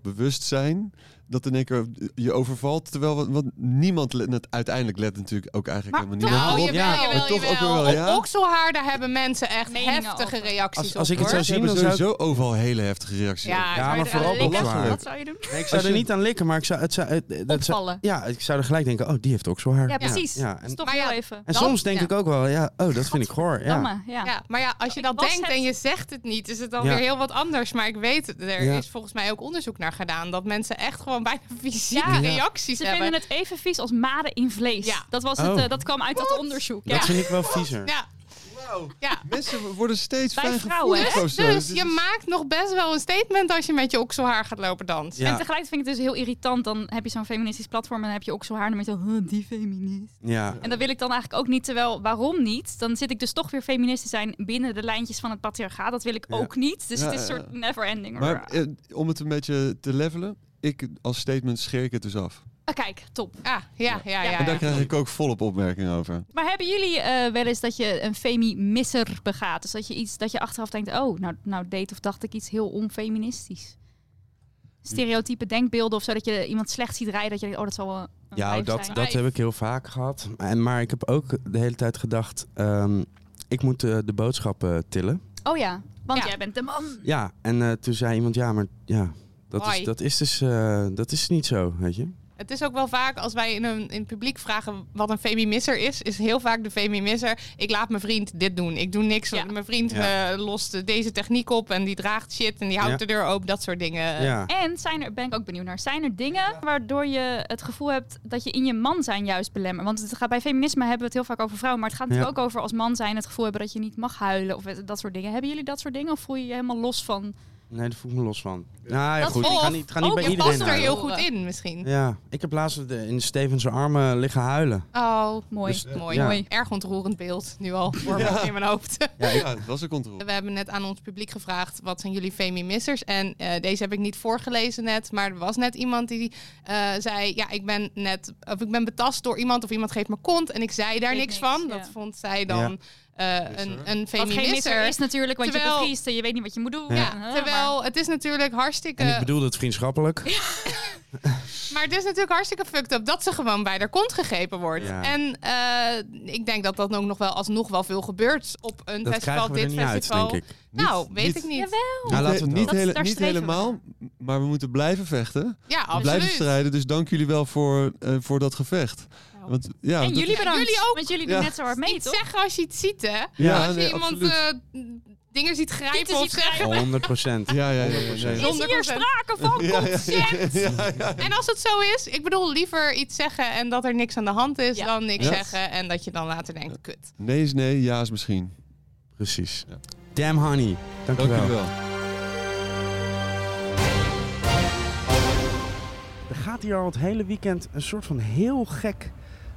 Speaker 2: zelfbewustzijn dat in één keer je overvalt. Terwijl wat, wat niemand let, net- uiteindelijk let natuurlijk ook eigenlijk helemaal niet
Speaker 18: Nou,
Speaker 2: op.
Speaker 18: jawel, jawel,
Speaker 2: maar toch ook
Speaker 18: jawel.
Speaker 2: wel, ja.
Speaker 18: Op okselhaar, daar hebben mensen echt heftige reacties
Speaker 2: Als,
Speaker 18: op.
Speaker 2: als ik het
Speaker 18: hoor.
Speaker 2: zou zien, dan sowieso overal hele heftige reacties.
Speaker 18: Ja,
Speaker 2: op.
Speaker 18: zou je eraan likken? Wat
Speaker 19: zou je doen?
Speaker 1: Nee, ik zou
Speaker 2: Als
Speaker 1: er
Speaker 2: je-
Speaker 1: niet aan likken, maar ik zou, het zou, het- het- dat zou-
Speaker 19: Opvallen.
Speaker 1: ja, ik zou er gelijk denken, oh, die heeft ook zo haar.
Speaker 18: Ja, precies.
Speaker 1: Ja, en
Speaker 19: Toch heel even.
Speaker 1: en soms denk ik ook wel, ja, oh, dat vind ik goor. Ja.
Speaker 19: Damme, ja.
Speaker 18: maar ja, als je dat
Speaker 19: was
Speaker 18: denkt
Speaker 19: het.
Speaker 18: en je zegt het niet, is het dan
Speaker 1: Ja.
Speaker 18: weer heel wat anders. Maar ik weet, het, er
Speaker 1: Ja.
Speaker 18: is volgens mij ook onderzoek naar gedaan dat mensen echt gewoon bijna <laughs> fysieke
Speaker 19: Ja.
Speaker 18: reacties
Speaker 19: Ze
Speaker 18: hebben.
Speaker 19: vinden het even vies als maden in vlees. Dat, was het,
Speaker 1: Oh.
Speaker 19: eh, dat kwam uit dat onderzoek.
Speaker 1: Dat
Speaker 19: ja.
Speaker 1: vind ik wel viezer.
Speaker 18: Ja. Ja.
Speaker 2: Mensen worden steeds
Speaker 19: Bij vrouwen, hè?
Speaker 2: vrijgevoelig.
Speaker 18: Dus, dus je maakt nog best wel een statement als je met je okselhaar gaat lopen dansen.
Speaker 19: En tegelijkertijd vind ik het dus heel irritant. Dan heb je zo'n feministisch platform en dan heb je ook zo'n haar en dan ben je zo, "Huh, die feminist.
Speaker 1: Ja.
Speaker 19: En dat wil ik dan eigenlijk ook niet. Terwijl, waarom niet? Dan zit ik dus toch weer feminist te zijn binnen de lijntjes van het patriarchaat. Dat wil ik
Speaker 2: Ja.
Speaker 19: ook niet. Dus
Speaker 2: Ja,
Speaker 19: het is een
Speaker 2: ja,
Speaker 19: soort never ending.
Speaker 2: Maar eh, om het een beetje te levelen, ik als statement scheer ik het dus af.
Speaker 19: Ah, kijk, top.
Speaker 18: Ah, ja, ja, ja.
Speaker 2: en daar
Speaker 18: ja.
Speaker 2: krijg ik ook volop opmerkingen over.
Speaker 19: Maar hebben jullie eh, wel eens dat je een femi-misser begaat? Dus dat je iets dat je achteraf denkt, oh, nou, nou deed of dacht ik iets heel onfeministisch. Stereotype denkbeelden of zo, dat je iemand slecht ziet rijden, dat je denkt, oh, dat zal wel een
Speaker 1: Ja,
Speaker 19: wijf
Speaker 1: dat,
Speaker 19: zijn.
Speaker 1: dat heb ik heel vaak gehad. En, maar ik heb ook de hele tijd gedacht, ehm, ik moet eh, de boodschappen tillen.
Speaker 19: Oh ja, want jij bent de man.
Speaker 1: Ja, en eh, toen zei iemand, ja, maar ja, dat,
Speaker 18: Hoi.
Speaker 1: is, dat is dus eh, dat is niet zo, weet je.
Speaker 18: Het is ook wel vaak als wij in, een, in het publiek vragen wat een feminisser is, is heel vaak de feminisser. Ik laat mijn vriend dit doen. Ik doe niks. Mijn vriend
Speaker 1: Ja.
Speaker 18: eh, lost deze techniek op en die draagt shit en die houdt
Speaker 1: Ja.
Speaker 18: de deur open. Dat soort dingen.
Speaker 1: Ja.
Speaker 19: Eh, En zijn er, ben ik ook benieuwd naar, zijn er dingen waardoor je het gevoel hebt dat je in je man zijn juist belemmert? Want het gaat, bij feminisme hebben we het heel vaak over vrouwen, maar het gaat natuurlijk
Speaker 1: Ja.
Speaker 19: ook over als man zijn het gevoel hebben dat je niet mag huilen of dat soort dingen. Hebben jullie dat soort dingen of voel je je helemaal los van?
Speaker 1: Nee, daar voel ik me los van. Nou ja,
Speaker 19: Dat
Speaker 1: goed, ik
Speaker 19: of
Speaker 1: ga niet, ik ga niet
Speaker 19: ook
Speaker 1: bij
Speaker 19: je
Speaker 1: iedereen
Speaker 19: past er
Speaker 18: Er
Speaker 1: huilen.
Speaker 18: heel goed in misschien.
Speaker 1: Ja, ik heb laatst de- in Steven zijn armen liggen huilen.
Speaker 18: Oh, mooi.
Speaker 19: eh,
Speaker 1: Dus,
Speaker 18: mooi.
Speaker 1: ja.
Speaker 18: mooi. Erg ontroerend beeld nu al voor me in mijn hoofd.
Speaker 2: Ja, het was een controle.
Speaker 18: We hebben net aan ons publiek gevraagd wat zijn jullie feminissers. En eh, deze heb ik niet voorgelezen net. Maar er was net iemand die eh, zei. Ja, ik ben net. Of ik ben betast door iemand of iemand geeft me kont. En ik zei daar
Speaker 19: Weet
Speaker 18: niks,
Speaker 19: niks,
Speaker 18: van.
Speaker 19: ja.
Speaker 18: Dat vond zij dan eh, een, een
Speaker 19: Wat geen misser
Speaker 18: feminisser.
Speaker 19: is natuurlijk, want je
Speaker 18: Terwijl-
Speaker 19: bevriest en je weet niet wat je moet doen.
Speaker 1: Ja.
Speaker 19: Huh, maar-
Speaker 18: Terwijl het is natuurlijk hartstikke.
Speaker 1: En
Speaker 19: Eh,
Speaker 1: ik bedoelde het vriendschappelijk.
Speaker 18: Maar het is natuurlijk hartstikke fucked up dat ze gewoon bij haar kont gegrepen wordt.
Speaker 1: Ja.
Speaker 18: En eh, ik denk dat dat ook nog wel alsnog wel veel gebeurt op een
Speaker 1: Dat
Speaker 18: festival.
Speaker 1: krijgen we er
Speaker 18: dit
Speaker 1: niet uit,
Speaker 18: festival.
Speaker 1: denk ik.
Speaker 18: Nou,
Speaker 2: Niet-
Speaker 18: weet
Speaker 2: niet-
Speaker 18: ik niet.
Speaker 19: Jawel.
Speaker 1: Nou, laten we
Speaker 2: niet,
Speaker 1: het
Speaker 2: niet,
Speaker 1: wel.
Speaker 2: hele-
Speaker 19: Dat is- daar
Speaker 2: niet
Speaker 19: streven we
Speaker 2: helemaal, maar we moeten blijven vechten.
Speaker 18: Ja,
Speaker 2: We
Speaker 18: absoluut.
Speaker 2: Blijven strijden, dus dank jullie wel voor, eh, voor dat gevecht. Want, ja,
Speaker 19: En
Speaker 2: dat-
Speaker 19: jullie bedankt,
Speaker 18: Jullie ook.
Speaker 19: want jullie doen
Speaker 2: Ja.
Speaker 19: net zo hard mee,
Speaker 18: Niet
Speaker 19: toch?
Speaker 18: zeggen als je het ziet, hè?
Speaker 2: Ja,
Speaker 18: als je
Speaker 2: nee,
Speaker 18: iemand
Speaker 2: absoluut.
Speaker 18: eh, dingen ziet grijpen
Speaker 19: Tieten
Speaker 18: of
Speaker 19: ziet
Speaker 18: zeggen.
Speaker 1: 100 procent.
Speaker 2: Ja, ja, ja. ja, ja, ja.
Speaker 19: Is hier
Speaker 18: 100%.
Speaker 19: sprake
Speaker 1: <laughs>
Speaker 19: van
Speaker 2: Ja, ja,
Speaker 19: consent?
Speaker 18: <laughs> En als het zo is, ik bedoel liever iets zeggen en dat er niks aan de hand is
Speaker 19: Ja.
Speaker 18: dan niks
Speaker 2: Ja.
Speaker 18: zeggen en dat je dan later denkt, kut.
Speaker 2: Nee is nee, ja is misschien.
Speaker 1: Precies.
Speaker 2: Ja.
Speaker 1: Damn honey. Dank je
Speaker 2: Dank jullie
Speaker 1: wel.
Speaker 2: wel.
Speaker 1: Er gaat hier al het hele weekend een soort van heel gek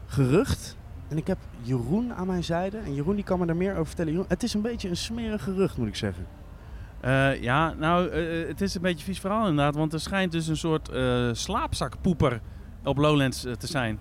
Speaker 1: gerucht. En ik heb Jeroen aan mijn zijde. En Jeroen die kan me daar meer over vertellen. Jeroen, het is een beetje een smerig gerucht, moet ik zeggen.
Speaker 20: Eh, ja, nou, eh, het is een beetje een vies verhaal inderdaad. Want er schijnt dus een soort eh, slaapzakpoeper op Lowlands eh, te zijn.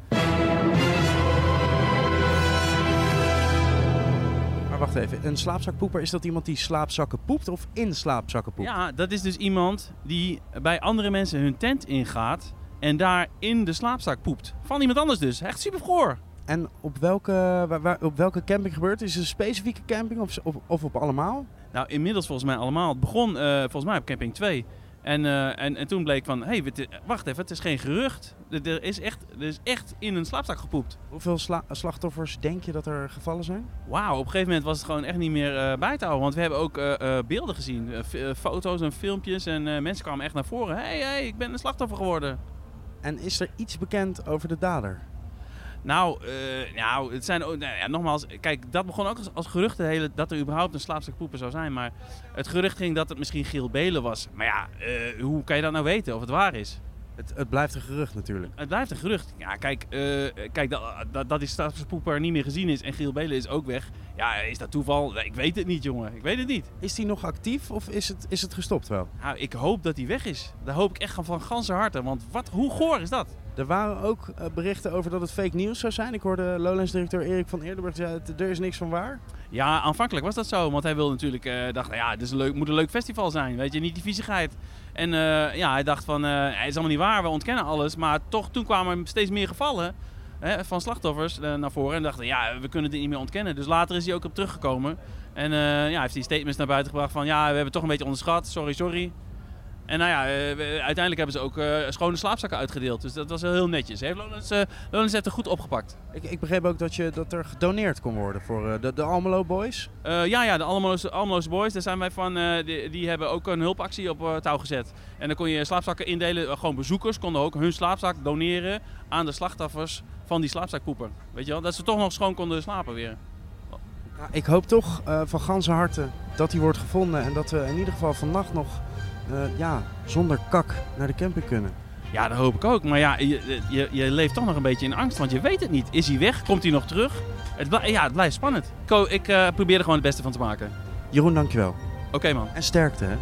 Speaker 1: Maar wacht even. Een slaapzakpoeper, is dat iemand die slaapzakken poept of in slaapzakken poept?
Speaker 20: Ja, dat is dus iemand die bij andere mensen hun tent ingaat en daar in de slaapzak poept. Van iemand anders dus. Echt super goor.
Speaker 1: En op welke, waar- waar- op welke camping gebeurt het? Is het een specifieke camping of, of, of op allemaal?
Speaker 20: Nou, inmiddels volgens mij allemaal. Het begon eh, volgens mij op camping 2. En, eh, en, en toen bleek van, hé, hey, wacht even, het is geen gerucht. Er er is echt, er is echt in een slaapzak gepoept.
Speaker 1: Hoeveel sla- slachtoffers denk je dat er gevallen zijn?
Speaker 20: Wauw, op een gegeven moment was het gewoon echt niet meer eh, bij te houden. Want we hebben ook eh, eh, beelden gezien. eh, f- eh, foto's en filmpjes. En eh, mensen kwamen echt naar voren. hey, hey, ik ben een slachtoffer geworden.
Speaker 1: En is er iets bekend over de dader?
Speaker 20: Nou, eh, nou het zijn ook... Nou ja, nogmaals, kijk, dat begon ook als, als gerucht de hele, dat er überhaupt een slaapzakpoeper zou zijn. Maar het gerucht ging dat het misschien Giel Belen was. Maar ja, eh, hoe kan je dat nou weten of het waar is?
Speaker 1: Het, het blijft een gerucht natuurlijk.
Speaker 20: Het blijft een gerucht. Ja, kijk, eh, kijk dat, dat, dat die stadspoeper niet meer gezien is en Giel Belen is ook weg. Ja, is dat toeval? Ik weet het niet, jongen. Ik weet het niet.
Speaker 1: Is die nog actief of is het, is het gestopt wel?
Speaker 20: Nou, ik hoop dat hij weg is. Daar hoop ik echt van ganse harte. Want wat, hoe goor is dat?
Speaker 1: Er waren ook eh, berichten over dat het fake nieuws zou zijn. Ik hoorde Lowlands-directeur Erik van Eerdenburg zeggen, "Het- er is niks van waar.
Speaker 20: Ja, aanvankelijk was dat zo. Want hij wilde natuurlijk, eh, dacht, nou ja, het is een leuk, moet een leuk festival zijn. Weet je, niet die viezigheid. En eh, ja, hij dacht van, eh het is allemaal niet waar, we ontkennen alles. Maar toch, toen kwamen er steeds meer gevallen hè, van slachtoffers eh, naar voren. En dachten, ja, we kunnen dit niet meer ontkennen. Dus later is hij ook op teruggekomen. En eh, ja, heeft hij statements naar buiten gebracht van, ja, we hebben het toch een beetje onderschat. Sorry, sorry. En nou ja, eh, we- uiteindelijk hebben ze ook eh, schone slaapzakken uitgedeeld. Dus dat was wel heel netjes. Heeft Lowlands, eh, Lowlands heeft het goed opgepakt.
Speaker 1: Ik, ik begreep ook dat, je, dat er gedoneerd kon worden voor eh, de, de Almelo Boys.
Speaker 20: Eh, ja, ja, de Almeloos, Almeloos Boys, daar zijn wij van. eh, die, die hebben ook een hulpactie op eh, touw gezet. En dan kon je slaapzakken indelen. Eh, gewoon bezoekers konden ook hun slaapzak doneren aan de slachtoffers van die slaapzakpoeper. Weet je wel, dat ze toch nog schoon konden slapen weer.
Speaker 1: Ja, ik hoop toch eh, van ganse harte dat die wordt gevonden en dat we in ieder geval vannacht nog eh, ja, zonder kak naar de camping kunnen.
Speaker 20: Ja, dat hoop ik ook. Maar ja, je, je, je leeft toch nog een beetje in angst, want je weet het niet. Is hij weg? Komt hij nog terug? Het, bl- ja, het blijft spannend. Ko, ik eh, probeer er gewoon het beste van te maken.
Speaker 1: Jeroen, dankjewel.
Speaker 20: Oké, man.
Speaker 1: En sterkte, hè?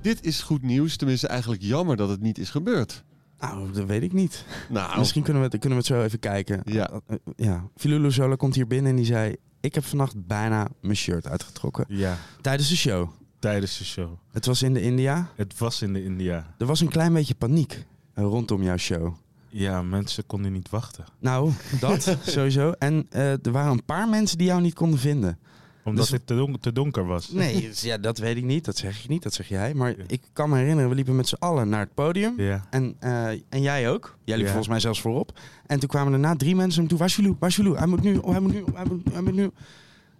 Speaker 2: Dit is goed nieuws. Tenminste, eigenlijk jammer dat het niet is gebeurd.
Speaker 1: Nou, dat weet ik niet.
Speaker 2: Nou,
Speaker 1: Misschien kunnen we, het- kunnen we het zo even kijken. Ja. ja. Filulu Zola komt hier binnen en die zei... Ik heb vannacht bijna mijn shirt uitgetrokken.
Speaker 6: Ja.
Speaker 1: Tijdens de show.
Speaker 6: Tijdens de show.
Speaker 1: Het was in de India.
Speaker 6: Het was in de India.
Speaker 1: Er was een klein beetje paniek eh, rondom jouw show.
Speaker 6: Ja, mensen konden niet wachten.
Speaker 1: Nou,
Speaker 6: <laughs>
Speaker 1: dat sowieso. En eh, er waren een paar mensen die jou niet konden vinden.
Speaker 6: Omdat
Speaker 1: Dus-
Speaker 6: het te, don- te donker was. <laughs>
Speaker 1: Nee, dus ja, dat weet ik niet. Dat zeg ik niet, dat zeg jij. Maar ik kan me herinneren, we liepen met z'n allen naar het podium.
Speaker 6: Ja.
Speaker 1: En, eh, en jij ook. Jij liep
Speaker 6: Ja.
Speaker 1: volgens mij zelfs voorop. En toen kwamen daarna drie mensen hem toe. Waar is Jaloe? Waar is Jaloe? Hij moet nu, oh, hij moet nu, oh, hij moet, hij moet nu.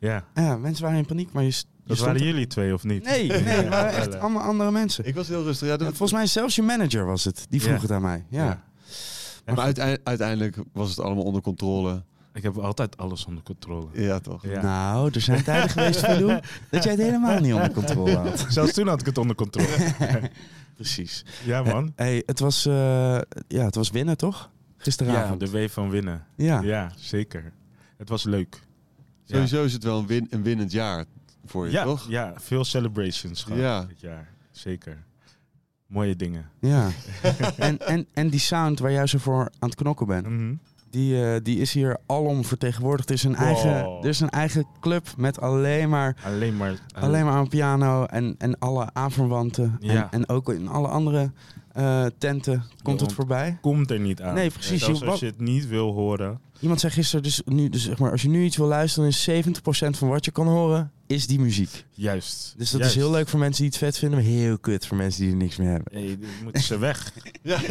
Speaker 6: Ja.
Speaker 1: Ja, mensen waren in paniek, maar je, s- je
Speaker 6: Dat
Speaker 1: stond
Speaker 6: waren
Speaker 1: er-
Speaker 6: jullie twee of
Speaker 2: <laughs>
Speaker 6: niet?
Speaker 1: Nee, nee, het waren echt allemaal andere mensen.
Speaker 2: Ik was heel rustig. Ja, dat-
Speaker 1: En volgens mij zelfs je manager was het. Die vroeg
Speaker 2: Ja.
Speaker 1: het aan mij. Ja.
Speaker 2: Ja. maar uitei- uiteindelijk was het allemaal onder controle.
Speaker 6: Ik heb altijd alles onder controle.
Speaker 2: Ja, toch?
Speaker 1: Nou, er zijn tijden geweest,
Speaker 6: <laughs>
Speaker 1: Fidoe, dat jij het helemaal niet onder controle had.
Speaker 6: Zelfs toen had ik het onder controle.
Speaker 1: <laughs> Precies.
Speaker 6: Ja, man.
Speaker 1: Eh, hey, het, was, eh, ja, het was winnen, toch?
Speaker 6: Ja,
Speaker 1: Gisteravond.
Speaker 6: de W van winnen.
Speaker 1: Ja.
Speaker 6: zeker. Het was leuk.
Speaker 2: Sowieso is het wel een, win, een winnend jaar voor je,
Speaker 6: ja,
Speaker 2: toch?
Speaker 6: Ja, veel celebrations gehad
Speaker 2: Ja.
Speaker 6: dit jaar. Zeker. Mooie dingen.
Speaker 1: Ja. <laughs> en, en, en die sound waar jij zo voor aan het knokken bent,
Speaker 6: Mhm.
Speaker 1: die, eh, die is hier alom vertegenwoordigd. Er is, een
Speaker 6: Wow.
Speaker 1: eigen, er is een eigen club met alleen maar,
Speaker 6: <laughs> Alleen maar...
Speaker 1: alleen maar aan piano en, en alle aanverwanten.
Speaker 6: Ja.
Speaker 1: En, en ook in alle andere eh, tenten komt het
Speaker 6: want
Speaker 1: voorbij.
Speaker 6: Komt er niet aan.
Speaker 1: Nee, precies.
Speaker 6: Zelfs
Speaker 1: Je-
Speaker 6: als
Speaker 1: wat-
Speaker 6: je het niet wil horen.
Speaker 1: Iemand zei gisteren, dus, nu, dus zeg maar, als je nu iets wil luisteren, is 70% van wat je kan horen, is die muziek.
Speaker 6: Juist.
Speaker 1: Dus dat
Speaker 6: Juist.
Speaker 1: is heel leuk voor mensen die het vet vinden, maar heel kut voor mensen die er niks meer hebben.
Speaker 6: Nee, je moet ze
Speaker 1: <laughs>
Speaker 6: <laughs> weg. weg,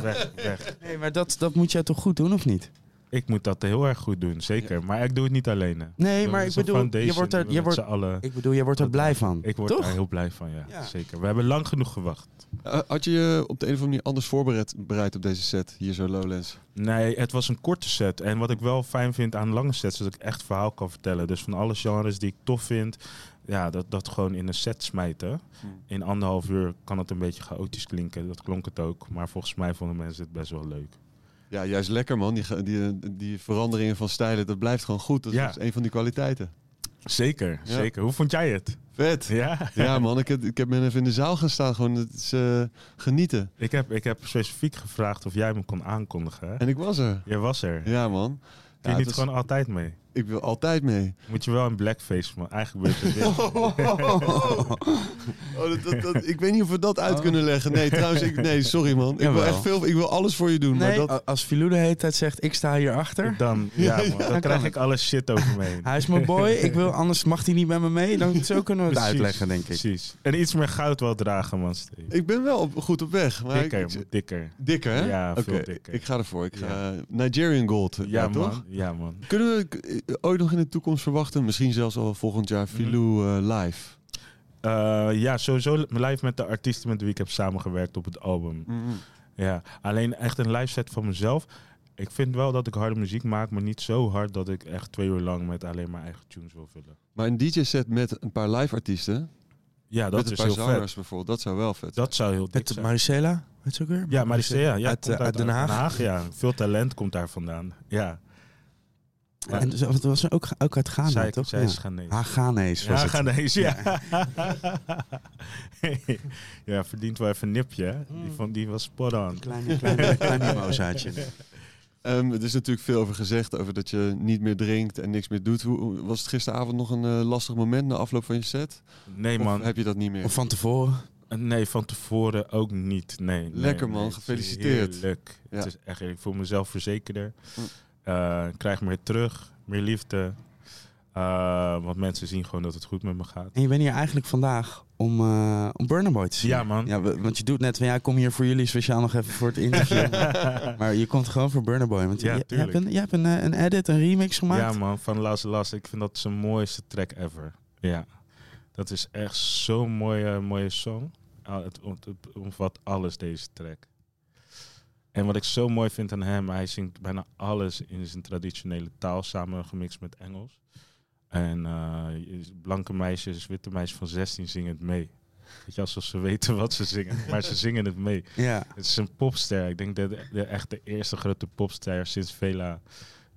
Speaker 6: weg, weg.
Speaker 1: Nee, maar dat, dat moet jij toch goed doen, of niet?
Speaker 6: Ik moet dat heel erg goed doen, zeker. Maar ik doe het niet alleen. hè.
Speaker 1: Nee,
Speaker 6: We
Speaker 1: maar ik
Speaker 6: hebben zo'n
Speaker 1: bedoel, je
Speaker 6: foundation,
Speaker 1: wordt
Speaker 6: we
Speaker 1: er,
Speaker 6: doen
Speaker 1: je
Speaker 6: met
Speaker 1: wordt,
Speaker 6: z'n allen.
Speaker 1: ik bedoel, je wordt er blij van.
Speaker 6: Ik word
Speaker 1: toch?
Speaker 6: daar heel blij van, ja. Zeker. We hebben lang genoeg gewacht.
Speaker 2: Eh, had je je op de een of andere manier anders voorbereid bereid op deze set, hier zo Lowlands?
Speaker 6: Nee, het was een korte set. En wat ik wel fijn vind aan lange sets, is dat ik echt verhaal kan vertellen. Dus van alle genres die ik tof vind, ja, dat, dat gewoon in een set smijten.
Speaker 2: Hmm.
Speaker 6: In anderhalf uur kan het een beetje chaotisch klinken. Dat klonk het ook. Maar volgens mij vonden mensen het best wel leuk.
Speaker 2: Ja, juist lekker man. Die, ge- die, eh, die veranderingen van stijlen, dat blijft gewoon goed. Dat
Speaker 6: Ja.
Speaker 2: is een van die kwaliteiten.
Speaker 6: Zeker,
Speaker 2: Ja.
Speaker 6: zeker. Hoe vond jij het?
Speaker 2: Vet.
Speaker 6: Ja.
Speaker 2: Ja man, ik heb, ik heb men even in de zaal gaan staan. Gewoon het is, eh, genieten.
Speaker 6: Ik heb, ik heb specifiek gevraagd of jij me kon aankondigen. hè?
Speaker 2: En ik was er.
Speaker 6: Jij was er.
Speaker 2: Ja man.
Speaker 6: Kun
Speaker 2: Ja,
Speaker 6: je
Speaker 2: het
Speaker 6: niet
Speaker 2: was-
Speaker 6: gewoon altijd mee?
Speaker 2: Ik wil altijd mee.
Speaker 6: Moet je wel een blackface, man. Eigenlijk ben <laughs> je het
Speaker 2: <laughs> Oh, <laughs> dat, dat, dat- ik weet niet of we dat uit kunnen leggen.
Speaker 6: <laughs>
Speaker 2: Nee, trouwens, ik, nee, sorry man. Ik wil
Speaker 1: Jawel.
Speaker 2: echt veel, ik wil alles voor je doen.
Speaker 1: Nee,
Speaker 2: maar dat,
Speaker 1: a- als Filou de hele tijd zegt, ik sta hierachter. <laughs>
Speaker 6: Dan, ja, man, dan krijg
Speaker 1: kan
Speaker 6: ik alle shit over me heen.
Speaker 1: Hij is mijn boy, ik <laughs> wil, anders mag hij niet met me mee. Dan, <laughs> zo kunnen we het uitleggen, denk ik.
Speaker 6: Precies. En iets meer goud wel dragen, man. Steve.
Speaker 2: ik ben wel op, goed op weg. Maar
Speaker 6: Dikker,
Speaker 2: ik,
Speaker 6: moet dikker.
Speaker 2: Dikker, hè?
Speaker 6: Ja, veel
Speaker 2: Oké,
Speaker 6: dikker.
Speaker 2: Ik ga ervoor. Ik ga Nigerian Gold. Ja,
Speaker 6: Ja, man.
Speaker 2: toch?
Speaker 6: Ja, man.
Speaker 2: Kunnen we eh, ooit nog in de toekomst verwachten? Misschien zelfs al volgend jaar
Speaker 6: Mhm.
Speaker 2: Filou eh, live.
Speaker 6: Eh, ja, sowieso live met de artiesten met wie ik heb samengewerkt op het album.
Speaker 2: Mhm.
Speaker 6: Ja, alleen echt een live set van mezelf. Ik vind wel dat ik harde muziek maak, maar niet zo hard dat ik echt twee uur lang met alleen mijn eigen tunes wil vullen.
Speaker 2: Maar een DJ-set met een paar live artiesten.
Speaker 6: Ja, dat
Speaker 2: met een
Speaker 6: is
Speaker 2: paar
Speaker 6: heel vet.
Speaker 2: zangers bijvoorbeeld. Dat zou wel vet.
Speaker 6: Dat zou heel dik
Speaker 1: Met
Speaker 6: zijn.
Speaker 1: Maricela, weet je ook weer?
Speaker 6: Ja, Maricea, ja,
Speaker 1: uit,
Speaker 6: komt
Speaker 1: eh, uit Den Haag.
Speaker 6: ja. Veel talent komt daar vandaan. Ja. Ja.
Speaker 1: En dus, dat was ook, ook uit Ghana,
Speaker 6: Zij-
Speaker 1: toch?
Speaker 6: zij
Speaker 1: Ja.
Speaker 6: is Ghanese.
Speaker 1: Ah, Ghanese was
Speaker 6: ja,
Speaker 1: het.
Speaker 6: Ghanese, ja. <laughs> ja, verdient wel even een nipje. hè? Die, van, die was spot on.
Speaker 1: Mm. Kleine-
Speaker 6: <laughs>
Speaker 1: kleine- <laughs> klein mimosaatje.
Speaker 2: <laughs> Ehm, er is natuurlijk veel over gezegd, over dat je niet meer drinkt en niks meer doet. Hoe- Hoe, was het gisteravond nog een eh, lastig moment na afloop van je set?
Speaker 6: Nee,
Speaker 2: Of
Speaker 6: man. Eh,
Speaker 2: heb je dat niet meer?
Speaker 1: van tevoren?
Speaker 6: Nee, van tevoren ook niet. Nee, nee,
Speaker 2: Lekker, man.
Speaker 6: nee. Het is
Speaker 2: Gefeliciteerd.
Speaker 6: Heerlijk.
Speaker 2: Ja.
Speaker 6: Het is echt, ik voel mezelf verzekerder.
Speaker 1: Mm.
Speaker 6: Eh, ik krijg meer terug, meer liefde. Eh, want mensen zien gewoon dat het goed met me gaat.
Speaker 1: En je bent hier eigenlijk vandaag om, eh om Burner Boy te zien.
Speaker 6: Ja, man.
Speaker 1: Ja, we- want je doet net van, ja, ik kom hier voor jullie speciaal nog even voor het interview. <laughs> maar je komt gewoon voor Burner Boy. Want
Speaker 6: Ja,
Speaker 1: je- je,
Speaker 6: tuurlijk.
Speaker 1: hebt, een, je hebt een, eh, een edit, een remix gemaakt.
Speaker 6: Ja, man, van Last Last. Ik vind dat zijn mooiste track ever. Ja. Dat is echt zo'n mooie, mooie song. Ah, het, om- het omvat alles, deze track. En wat ik zo mooi vind aan hem, hij zingt bijna alles in zijn traditionele taal samen gemixt met Engels. En eh, blanke meisjes, witte meisjes van 16 zingen het mee. Weet je, alsof ze weten wat ze zingen, maar ze zingen het mee.
Speaker 1: Ja.
Speaker 6: Het is een popster. Ik denk dat de, de- echt de eerste grote popster sinds Vela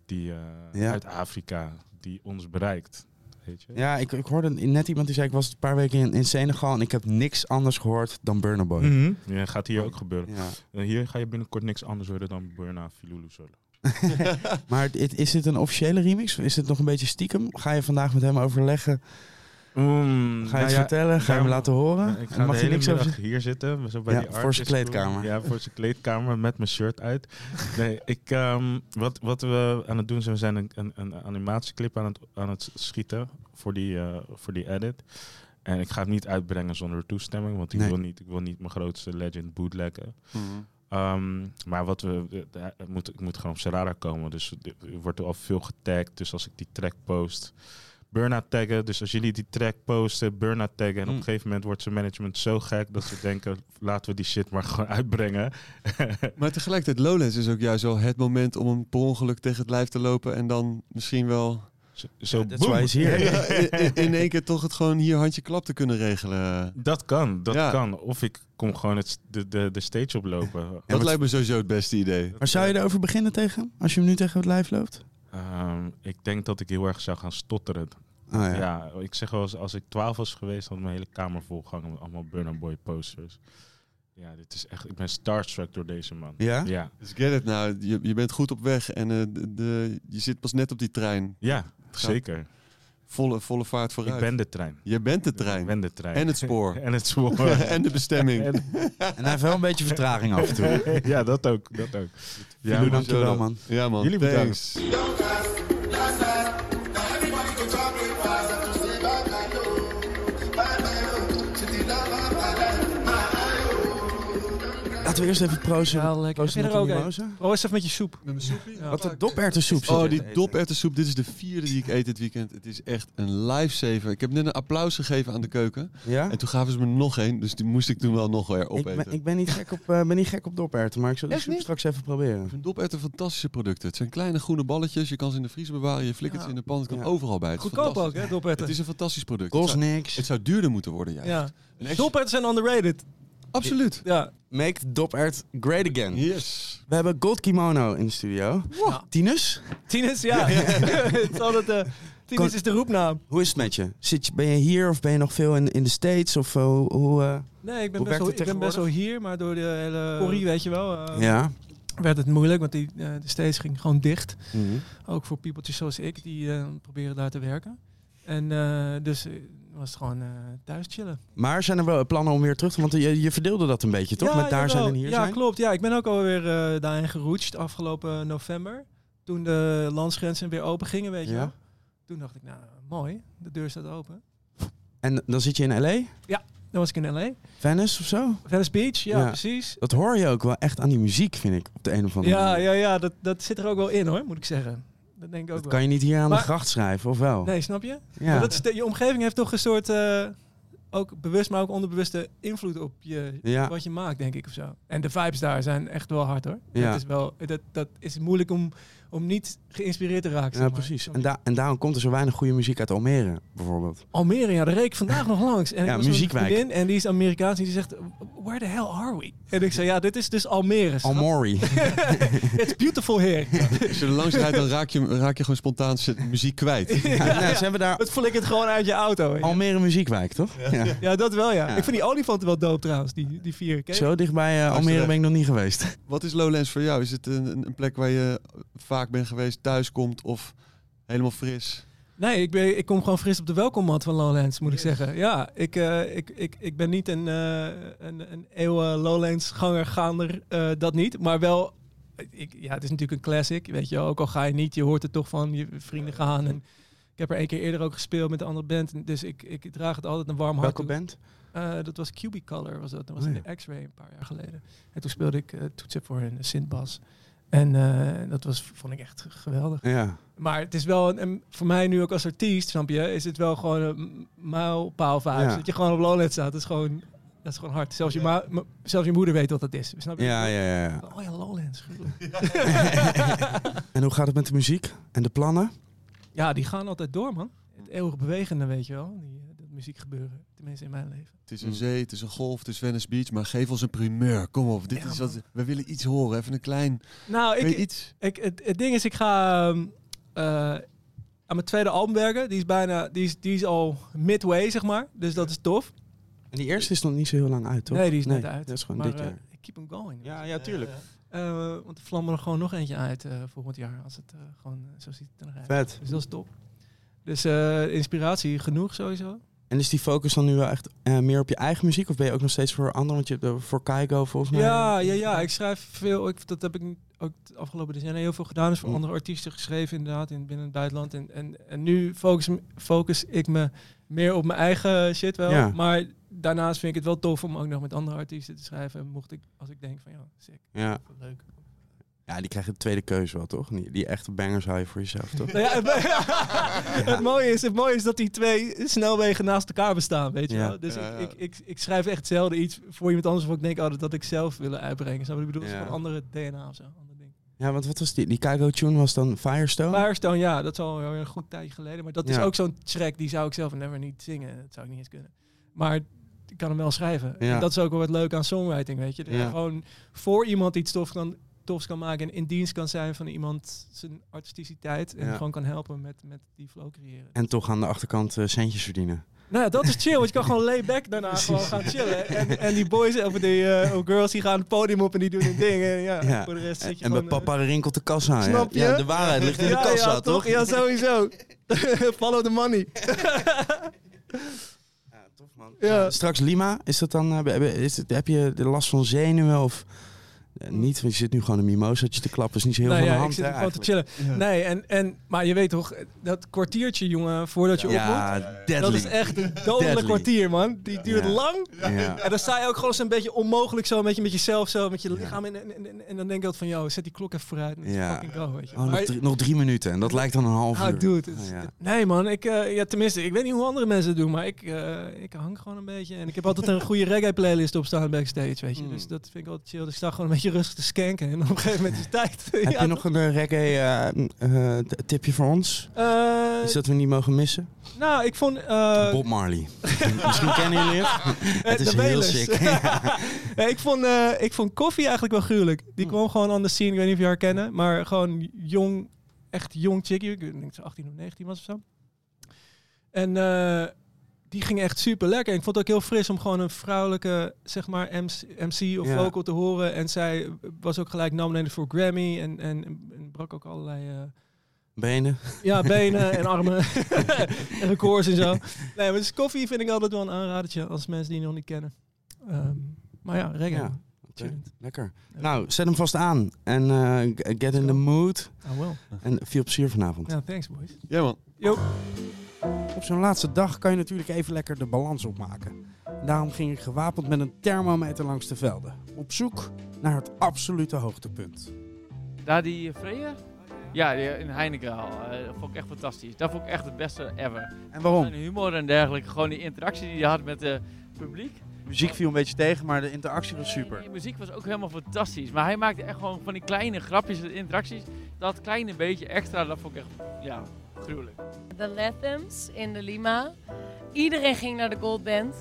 Speaker 6: die, eh,
Speaker 1: Ja.
Speaker 6: uit Afrika die ons bereikt. Weet je?
Speaker 1: Ja, ik, ik hoorde net iemand die zei, ik was een paar weken in, in Senegal en ik heb niks anders gehoord dan Burna Boy.
Speaker 6: Mhm. Ja, gaat hier ook gebeuren.
Speaker 1: Ja.
Speaker 6: En Hier ga je binnenkort niks anders horen dan Burna Filulu solo.
Speaker 1: Maar het- het- is dit een officiële remix? Is dit nog een beetje stiekem? Ga je vandaag met hem overleggen? Ga je
Speaker 6: Mm,
Speaker 1: het
Speaker 6: nou ja,
Speaker 1: vertellen? Ga je hem
Speaker 6: daarom-
Speaker 1: laten horen?
Speaker 6: Ik ga
Speaker 1: En mag
Speaker 6: mag de
Speaker 1: je
Speaker 6: hele
Speaker 1: niks
Speaker 6: middag
Speaker 1: over zeggen?
Speaker 6: hier zitten. Zo bij
Speaker 1: Ja,
Speaker 6: die
Speaker 1: voor zijn
Speaker 6: artist room.
Speaker 1: kleedkamer.
Speaker 6: Ja, voor zijn kleedkamer met mijn shirt
Speaker 1: <laughs>
Speaker 6: uit. Nee, ik, ehm, wat, wat we aan het doen zijn, we zijn een, een, een animatieclip aan het, aan het schieten voor die, eh, voor die edit. En ik ga het niet uitbrengen zonder toestemming, want ik,
Speaker 1: Nee.
Speaker 6: wil, niet, ik wil niet mijn grootste legend bootleggen.
Speaker 1: Mhm.
Speaker 6: Ehm, maar wat we, de- de- het moet, ik moet gewoon op Serrara komen. Dus de- er wordt al veel getagd. Dus als ik die track post. Burna taggen. Dus als jullie die track posten, Burna taggen. En op
Speaker 1: Mm.
Speaker 6: een gegeven moment wordt zijn management zo gek dat ze denken: laten we die shit maar gewoon <laughs> uitbrengen.
Speaker 2: Maar tegelijkertijd, Lowlands is ook juist wel het moment om hem per ongeluk tegen het lijf te lopen en dan misschien wel...
Speaker 6: Zo,
Speaker 1: that's why he's here.
Speaker 2: Ja, in, in één keer toch het gewoon hier handje klap te kunnen regelen.
Speaker 6: Dat kan, dat
Speaker 2: Ja.
Speaker 6: kan. Of ik kom gewoon het, de, de, de stage oplopen.
Speaker 2: dat lijkt me sowieso het beste idee.
Speaker 1: Maar zou je erover beginnen tegen hem? Als je hem nu tegen het lijf loopt?
Speaker 6: Ehm, ik denk dat ik heel erg zou gaan stotteren.
Speaker 1: Ah, ja.
Speaker 6: ik zeg wel eens, als ik 12 was geweest, had mijn hele kamer volgehangen met allemaal Burna Boy posters. Ja, dit is echt, ik ben starstruck door deze man. Ja.
Speaker 2: Dus get it nou. Je, je bent goed op weg en eh, de, de- je zit pas net op die trein.
Speaker 6: Ja,
Speaker 2: Gaat
Speaker 6: zeker.
Speaker 2: Volle, volle vaart vooruit.
Speaker 6: Ik ben de trein.
Speaker 2: Je bent de trein.
Speaker 6: Ik ben de trein.
Speaker 2: En het spoor.
Speaker 6: <laughs> en het spoor.
Speaker 2: <laughs> en de bestemming.
Speaker 6: <laughs>
Speaker 2: <laughs>
Speaker 6: En-
Speaker 1: En hij heeft wel een beetje vertraging af en toe.
Speaker 6: ja, dat ook. Dat ook. Ja,
Speaker 1: Filou,
Speaker 6: man.
Speaker 1: dankjewel, man.
Speaker 2: Ja, man.
Speaker 6: Jullie
Speaker 2: Thanks.
Speaker 6: bedankt.
Speaker 1: Laten we eerst even proosten. proosten
Speaker 21: Heb je
Speaker 1: op
Speaker 21: er
Speaker 1: de
Speaker 21: ook
Speaker 1: mimosa.
Speaker 21: een? Oh, is even met je soep. Met mijn soepie?
Speaker 1: Wat de doperwtensoep zit
Speaker 2: Oh,
Speaker 1: erin.
Speaker 2: die doperwtensoep. Dit is de vierde die ik eet dit weekend. Het is echt een lifesaver. Ik heb net een applaus gegeven aan de keuken.
Speaker 1: Ja?
Speaker 2: En toen gaven ze me nog één. Dus die moest ik toen wel nog weer
Speaker 1: Ik
Speaker 2: opeten.
Speaker 1: ben, ik ben niet gek op, eh, ben niet gek op doperwten, maar ik zal die soep straks even proberen.
Speaker 2: Ik vind doperwten fantastische producten. Het zijn kleine groene balletjes. Je kan ze in de vriezer bewaren. Je flikkert ze in de pan. Het kan overal bij. Het is
Speaker 21: Goedkoop
Speaker 2: fantastisch.
Speaker 21: ook, hè, doperwten.
Speaker 2: Het is een fantastisch product.
Speaker 1: Kost
Speaker 2: Het zou-
Speaker 1: niks.
Speaker 2: Het zou duurder moeten worden, juist.
Speaker 21: Ja.
Speaker 2: Een extra-
Speaker 21: Doperwten zijn underrated.
Speaker 2: Absoluut.
Speaker 21: Ja.
Speaker 1: Make the dopert great again.
Speaker 2: Yes.
Speaker 1: We hebben Gold Kimono in de studio. Tinus?
Speaker 21: Tinus, ja. <laughs> Het is altijd, eh, Tinus is de roepnaam.
Speaker 1: Hoe is het met je? Zit je? Ben je hier of ben je nog veel in, in de States? Of eh, hoe, hoe, eh,
Speaker 21: Nee, ik ben,
Speaker 1: hoe
Speaker 21: best
Speaker 1: werkt
Speaker 21: wel,
Speaker 1: het
Speaker 21: ik ben best wel
Speaker 1: tegenwoordig?
Speaker 21: hier, maar door de hele Corrie, weet je wel, eh,
Speaker 1: Ja.
Speaker 21: werd het moeilijk, want die, eh, de steeds ging gewoon dicht.
Speaker 1: Mhm.
Speaker 21: Ook voor peopletjes zoals ik, die eh, proberen daar te werken. En eh, dus eh, was het gewoon eh, thuis chillen.
Speaker 1: Maar zijn er wel plannen om weer terug te... Want je, je verdeelde dat een beetje, toch?
Speaker 21: Ja,
Speaker 1: Met daar
Speaker 21: jawel.
Speaker 1: zijn en hier
Speaker 21: ja,
Speaker 1: zijn?
Speaker 21: klopt. Ja, ik ben ook alweer eh daarin geroetst afgelopen november. Toen de landsgrenzen weer open gingen, weet je
Speaker 1: Ja.
Speaker 21: wel. Toen dacht ik, nou, mooi, de deur staat open.
Speaker 1: En dan zit je in L.A.?
Speaker 21: Ja, dan was ik in L.A.
Speaker 1: Venice of zo?
Speaker 21: Venice Beach, ja, precies.
Speaker 1: Dat hoor je ook wel echt aan die muziek, vind ik. Op de een of andere
Speaker 21: Ja,
Speaker 1: manier.
Speaker 21: ja, ja dat, dat zit er ook wel in hoor, moet ik zeggen. Dat denk ik ook
Speaker 1: Dat
Speaker 21: wel.
Speaker 1: kan je niet hier aan
Speaker 21: Maar-
Speaker 1: de gracht schrijven, of wel?
Speaker 21: Nee, snap je?
Speaker 1: Ja.
Speaker 21: Maar Dat is de- je omgeving heeft toch een soort, eh, ook bewust, maar ook onbewuste invloed op je,
Speaker 1: Ja.
Speaker 21: wat je maakt, denk ik of zo. En de vibes daar zijn echt wel hard hoor.
Speaker 1: Ja.
Speaker 21: Dat, is wel, dat, dat is moeilijk om, om niet geïnspireerd te raken.
Speaker 1: ja,
Speaker 21: zeg maar.
Speaker 1: precies. En, da- en daarom komt er zo weinig goede muziek uit Almere, bijvoorbeeld.
Speaker 21: Almere, ja, daar reed ik vandaag nog langs. En
Speaker 1: Ja,
Speaker 21: ik was met een
Speaker 1: muziekwijk.
Speaker 21: vriendin En die is Amerikaans en die zegt, where the hell are we? En ik zei, ja, dit is dus Almere. schat.
Speaker 1: Almori.
Speaker 21: It's beautiful here.
Speaker 2: <laughs> Als je er langs rijdt, dan raak je, raak je gewoon spontaan zit- muziek kwijt.
Speaker 1: Ja, nou, ze hebben daar
Speaker 21: Het flikkert gewoon uit je auto. weet je.
Speaker 1: Almere Muziekwijk, toch? Ja.
Speaker 21: Ja, dat wel ja.
Speaker 1: Ja.
Speaker 21: Ik vind die olifanten wel dope trouwens, die, die vier. Ken je
Speaker 1: Zo dichtbij eh, Almere
Speaker 2: terecht.
Speaker 1: ben ik nog niet geweest. <laughs>
Speaker 2: Wat is Lowlands voor jou? Is het een, een- een plek waar je vaak bent geweest, thuis komt of helemaal fris?
Speaker 21: Nee, ik, ben, ik kom gewoon fris op de welkommat van Lowlands, moet ik zeggen. Ja, ik, eh, ik, ik, ik ben niet een, eh een, een eeuwen Lowlands-ganger, gaander, eh, dat niet. Maar wel, ik, ja, het is natuurlijk een classic, weet je wel. Ook al ga je niet, je hoort het toch van je vrienden gaan. En ik heb er één keer eerder ook gespeeld met een andere band. en Dus ik, ik draag het altijd een warm hart
Speaker 1: Welke
Speaker 21: toe.
Speaker 1: band?
Speaker 21: Eh, dat was Cubicolor, was dat. Dat was
Speaker 1: Oh,
Speaker 21: in de X-Ray een paar jaar geleden. En toen speelde ik eh, toetsen voor een Sint-Bas. En eh, dat was, vond ik echt geweldig. <laughs>
Speaker 1: Ja.
Speaker 21: Maar het is wel, een, een- voor mij nu ook als artiest, snap je, is het wel gewoon een m- mijlpaal voor huis.
Speaker 1: Ja.
Speaker 21: Dat je gewoon op Lowlands staat. Dat is gewoon Dat is gewoon hard. Zelfs je, ma- m- zelfs je moeder weet wat dat is. Snap je?
Speaker 1: Ja, ja, ja.
Speaker 21: Oh ja, Lowlands.
Speaker 1: En hoe gaat het met de muziek en de plannen?
Speaker 21: <laughs> ja, die gaan altijd door, man. Het eeuwige bewegende, weet je wel. Die, eh, dat muziek gebeuren. Tenminste in mijn leven.
Speaker 2: Het is
Speaker 1: Mm. Hmm.
Speaker 2: een zee, het is een golf, het is Venice Beach, maar geef ons een primeur. Kom op, dit is wat we willen iets horen. Even een klein.
Speaker 21: Nou,
Speaker 2: Kun je
Speaker 21: ik,
Speaker 2: iets.
Speaker 21: Ik, het, het ding is, ik ga ehm, eh, aan mijn tweede album werken. Die is bijna, die is, die is al midway, zeg maar. Dus dat is tof.
Speaker 1: En die eerste is nog niet zo heel lang uit, toch?
Speaker 21: Nee, die is net uit.
Speaker 1: Dat is gewoon
Speaker 21: Maar,
Speaker 1: dit
Speaker 21: eh,
Speaker 1: jaar.
Speaker 21: ik keep hem going.
Speaker 1: Ja, Ah, ja, tuurlijk.
Speaker 21: Eh, want er vlammen er gewoon nog eentje uit eh, volgend jaar. Als het eh, gewoon eh, zo ziet het eruit.
Speaker 1: Vet.
Speaker 21: Dus dat is top. Dus eh, inspiratie genoeg sowieso.
Speaker 1: En is die focus dan nu wel echt eh, meer op je eigen muziek? Of ben je ook nog steeds voor anderen? Want je hebt eh, voor Kaigo volgens mij...
Speaker 21: Ja, ja, ja. Ik schrijf veel. Ik, dat heb ik ook de afgelopen decennia heel veel gedaan.
Speaker 1: Mm.
Speaker 21: Dus voor andere artiesten geschreven inderdaad in, binnen het buitenland. En, en, en nu focus, focus ik me meer op mijn eigen shit wel.
Speaker 1: Ja.
Speaker 21: Maar daarnaast vind ik het wel tof om ook nog met andere artiesten te schrijven. Mocht ik, als ik denk van ja, sick.
Speaker 1: Ja.
Speaker 21: Leuk.
Speaker 1: Ja, die krijgt de tweede keuze wel, toch? Die, die echte bangers hou je voor jezelf, toch?
Speaker 21: Nou <laughs> ja, het, het <laughs> mooie is, het mooie is dat die twee snelwegen naast elkaar bestaan, weet je
Speaker 1: Ja.
Speaker 21: wel. Dus
Speaker 1: Ja, ja.
Speaker 21: Ik, ik, ik, ik schrijf echt zelden iets voor iemand anders waarvan ik denk, oh, dat had ik zelf willen uitbrengen. Snap je? Ik bedoel, het is
Speaker 1: Ja.
Speaker 21: gewoon andere DNA of zo.
Speaker 1: <laughs> Ja, want wat was die? Die Kaigo-tune was dan Firestone?
Speaker 21: Firestone, ja, dat is al alweer een goed tijdje geleden. Maar dat is
Speaker 1: Ja.
Speaker 21: ook zo'n track, die zou ik zelf never niet zingen. Dat zou ik niet eens kunnen. Maar ik kan hem wel schrijven.
Speaker 1: Ja.
Speaker 21: En dat is ook wel wat leuk aan songwriting, weet je. Dat je
Speaker 1: Ja.
Speaker 21: gewoon voor iemand iets tof kan, tofs kan maken... en in dienst kan zijn van iemand zijn artisticiteit... en
Speaker 1: Ja.
Speaker 21: gewoon kan helpen met, met die flow creëren.
Speaker 1: En toch aan de achterkant eh, centjes verdienen.
Speaker 21: Nou ja, dat is chill, want je kan gewoon layback
Speaker 1: <laughs>
Speaker 21: daarna gewoon gaan chillen. En, en die boys of die eh, of girls die gaan het podium op en die doen hun ding. En ja,
Speaker 1: Ja.
Speaker 21: voor de rest
Speaker 1: En,
Speaker 21: zit je
Speaker 1: en bij
Speaker 21: gewoon... eh,
Speaker 1: papa rinkelt de kassa. hè?
Speaker 21: Snap je?
Speaker 1: Ja, de waarheid ligt in de
Speaker 21: Ja,
Speaker 1: kassa,
Speaker 21: ja,
Speaker 1: toch?
Speaker 21: Ja, sowieso. <laughs> Follow the money. Ja.
Speaker 1: Straks Lima, is dat dan, eh, be- be- is het, heb je de last van zenuwen of eh, niet? Want je zit nu gewoon een mimosaatje te klappen, is niet zo heel
Speaker 21: Nou
Speaker 1: veel
Speaker 21: ja,
Speaker 1: aan de hand.
Speaker 21: ik zit
Speaker 1: hè,
Speaker 21: er gewoon te chillen.
Speaker 1: eigenlijk.
Speaker 21: Nee, en, en, maar je weet toch, dat kwartiertje, jongen, voordat je
Speaker 1: Ja,
Speaker 21: op moet.
Speaker 1: deadly.
Speaker 21: Dat is echt een dodelijk
Speaker 1: Deadly.
Speaker 21: kwartier, man. Die duurt
Speaker 1: Ja.
Speaker 21: lang.
Speaker 1: Ja.
Speaker 21: En dan sta je ook gewoon zo'n beetje onmogelijk zo, een beetje met jezelf zo, met je lichaam. En, en, en, en dan denk ik altijd van, joh, zet die klok even vooruit. En
Speaker 1: Ja.
Speaker 21: dus fucking go, weet je.
Speaker 1: Oh, nog,
Speaker 21: Maar-
Speaker 1: drie, nog drie minuten en dat lijkt dan een half
Speaker 21: Ah,
Speaker 1: uur.
Speaker 21: dude, het is- <laughs>
Speaker 1: Ah, ja.
Speaker 21: Nee man, ik, eh, ja, tenminste, ik weet niet hoe andere mensen het doen, maar ik, eh, ik hang gewoon een beetje. En ik heb
Speaker 1: <laughs>
Speaker 21: altijd een goede reggae playlist op staan backstage, weet je.
Speaker 1: Hmm.
Speaker 21: Dus dat vind ik altijd chill. Dus ik sta gewoon een beetje rustig te skanken en op een gegeven moment is het tijd.
Speaker 1: Heb
Speaker 21: Ja,
Speaker 1: je nog een eh, reggae eh, eh, t- tipje voor ons?
Speaker 21: Eh,
Speaker 1: is dat we niet mogen missen?
Speaker 21: Nou, ik vond... eh,
Speaker 1: Bob Marley. <laughs> Misschien kennen jullie het. het
Speaker 21: de
Speaker 1: is heel
Speaker 21: Wailers. <laughs>
Speaker 1: sick.
Speaker 21: Nee, ik, vond, eh, ik vond Koffie eigenlijk wel gruwelijk. Die kwam gewoon aan de scene, ik weet niet of je haar kennen, maar gewoon jong, echt jong chickie. Ik denk dat ze 18 of 19 was of zo. En eh, die ging echt super lekker. Ik vond het ook heel fris om gewoon een vrouwelijke, zeg maar, MC, MC of
Speaker 1: Ja.
Speaker 21: vocal te horen. En zij was ook gelijk nominated voor Grammy en, en, en brak ook allerlei... eh,
Speaker 1: Benen.
Speaker 21: ja, benen en armen <laughs> en records en zo. Nee, maar dus koffie vind ik altijd wel een aanradertje als mensen die nog niet kennen. Ehm, maar ja, reggae.
Speaker 1: Ja, oké.
Speaker 21: Chillend.
Speaker 1: Lekker. Nou, zet hem vast aan. En eh, g- get in the mood.
Speaker 21: Ah, wel.
Speaker 1: En veel plezier vanavond.
Speaker 21: Ja, thanks boys.
Speaker 2: Ja, man.
Speaker 21: Yo.
Speaker 1: Op zo'n laatste dag kan je natuurlijk even lekker de balans opmaken. Daarom ging ik gewapend met een thermometer langs de velden. Op zoek naar het absolute hoogtepunt.
Speaker 7: Daar die eh, Freya? Ja, die in Heinekenhal. Eh, dat vond ik echt fantastisch. Dat vond ik echt het beste ever.
Speaker 1: En waarom?
Speaker 7: Zijn humor en dergelijke. Gewoon die interactie die hij had met het eh, publiek.
Speaker 1: Muziek viel een beetje tegen, maar de interactie was super.
Speaker 7: Die muziek was ook helemaal fantastisch. Maar hij maakte echt gewoon van die kleine grapjes en interacties. Dat kleine beetje extra, dat vond ik echt, ja, gruwelijk.
Speaker 22: De Lathams in de Lima. Iedereen ging naar de Gold Band.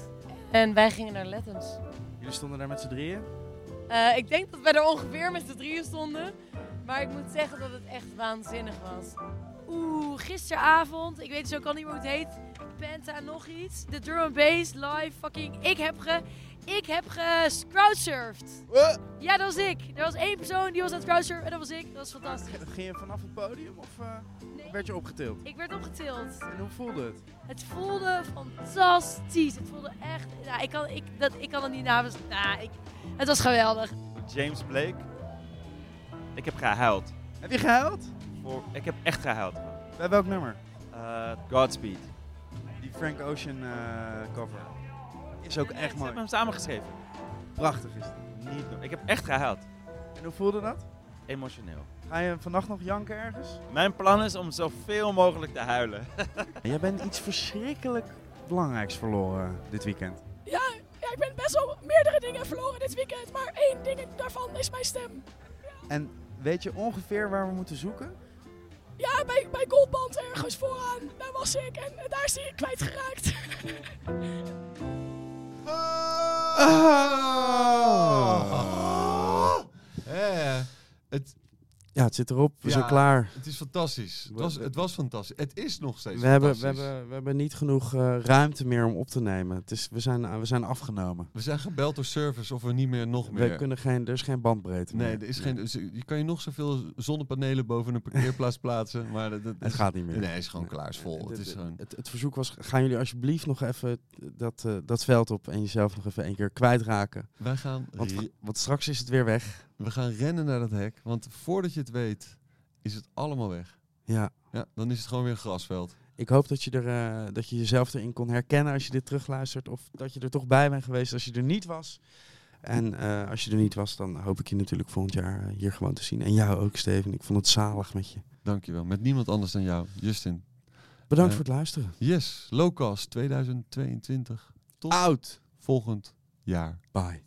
Speaker 22: En wij gingen naar Lathams.
Speaker 1: Jullie stonden daar met z'n drieën?
Speaker 22: Eh, ik denk dat wij er ongeveer met z'n drieën stonden. Maar ik moet zeggen dat het echt waanzinnig was. Oeh, gisteravond, ik weet zo kan niet meer hoe het heet. Penta nog iets. De drum and bass live fucking. Ik heb ge. Ik heb gecrowdsurfd. Ja, dat was ik. Er was één persoon die was aan het crowdsurfen en dat was ik. Dat was fantastisch.
Speaker 1: Ging je vanaf het podium of eh, werd je opgetild?
Speaker 22: Ik werd opgetild.
Speaker 1: En hoe voelde het?
Speaker 22: Het voelde fantastisch. Het voelde echt. Nou, ik, kan, ik, dat, ik kan het niet namens. Nou, ik, het was geweldig.
Speaker 23: James Blake. Ik heb gehuild.
Speaker 1: Heb je gehuild?
Speaker 23: Voor, ik heb echt gehuild.
Speaker 1: Bij welk nummer?
Speaker 23: Eh, Godspeed.
Speaker 1: Die Frank Ocean eh, cover. Is ook echt
Speaker 23: Ik heb
Speaker 1: mooi.
Speaker 23: hem samengeschreven.
Speaker 1: Prachtig is het.
Speaker 23: Niet doen. Ik heb echt gehuild.
Speaker 1: En hoe voelde dat?
Speaker 23: Emotioneel.
Speaker 1: Ga je vannacht nog janken ergens?
Speaker 23: Mijn plan is om zoveel mogelijk te huilen. <laughs>
Speaker 1: Jij bent iets verschrikkelijk belangrijks verloren dit weekend.
Speaker 22: Ja, ja,
Speaker 17: ik ben best wel meerdere dingen verloren dit weekend. Maar één ding daarvan is mijn stem.
Speaker 8: En weet je ongeveer waar we moeten zoeken?
Speaker 17: Ja, bij, bij Goldband ergens vooraan. Daar was ik en eh, daar is hij kwijtgeraakt. <laughs>
Speaker 2: Ah! Eh, het,
Speaker 1: Ja, het zit erop. We zijn
Speaker 2: ja,
Speaker 1: klaar.
Speaker 2: Het is fantastisch. Het was, het was fantastisch. Het is nog steeds
Speaker 1: We hebben, we,
Speaker 2: fantastisch.
Speaker 1: hebben, we hebben niet genoeg eh, ruimte meer om op te nemen. Het is, we, zijn, eh, we zijn afgenomen.
Speaker 2: We zijn gebeld door service of we niet meer nog meer...
Speaker 1: We kunnen geen, er is geen bandbreedte
Speaker 2: Nee,
Speaker 1: meer.
Speaker 2: er is geen, dus je kan je nog zoveel zonnepanelen boven een
Speaker 1: <laughs>
Speaker 2: parkeerplaats plaatsen, maar dat, dat
Speaker 1: Het
Speaker 2: is-
Speaker 1: gaat niet meer.
Speaker 2: Nee, het is gewoon klaar, het is vol. Het is gewoon...
Speaker 1: Het, het verzoek was, gaan jullie alsjeblieft nog even dat, eh, dat veld op en jezelf nog even één keer kwijtraken.
Speaker 2: Wij gaan
Speaker 1: Want,
Speaker 2: re-
Speaker 1: want straks is het weer weg.
Speaker 2: We gaan rennen naar dat hek, want voordat je het weet is het allemaal weg.
Speaker 1: Ja.
Speaker 2: Ja, dan is het gewoon weer een grasveld.
Speaker 1: Ik hoop dat je, er, eh, dat je jezelf erin kon herkennen als je dit terugluistert. Of dat je er toch bij bent geweest als je er niet was. En eh, als je er niet was, dan hoop ik je natuurlijk volgend jaar eh, hier gewoon te zien. En jou ook, Steven. Ik vond het zalig met je.
Speaker 2: Dankjewel, met niemand anders dan jou, Justin.
Speaker 1: Bedankt
Speaker 2: Eh,
Speaker 1: voor het luisteren.
Speaker 2: Yes, Lowcast 2022. Tot
Speaker 1: Oud.
Speaker 2: volgend jaar.
Speaker 1: Bye.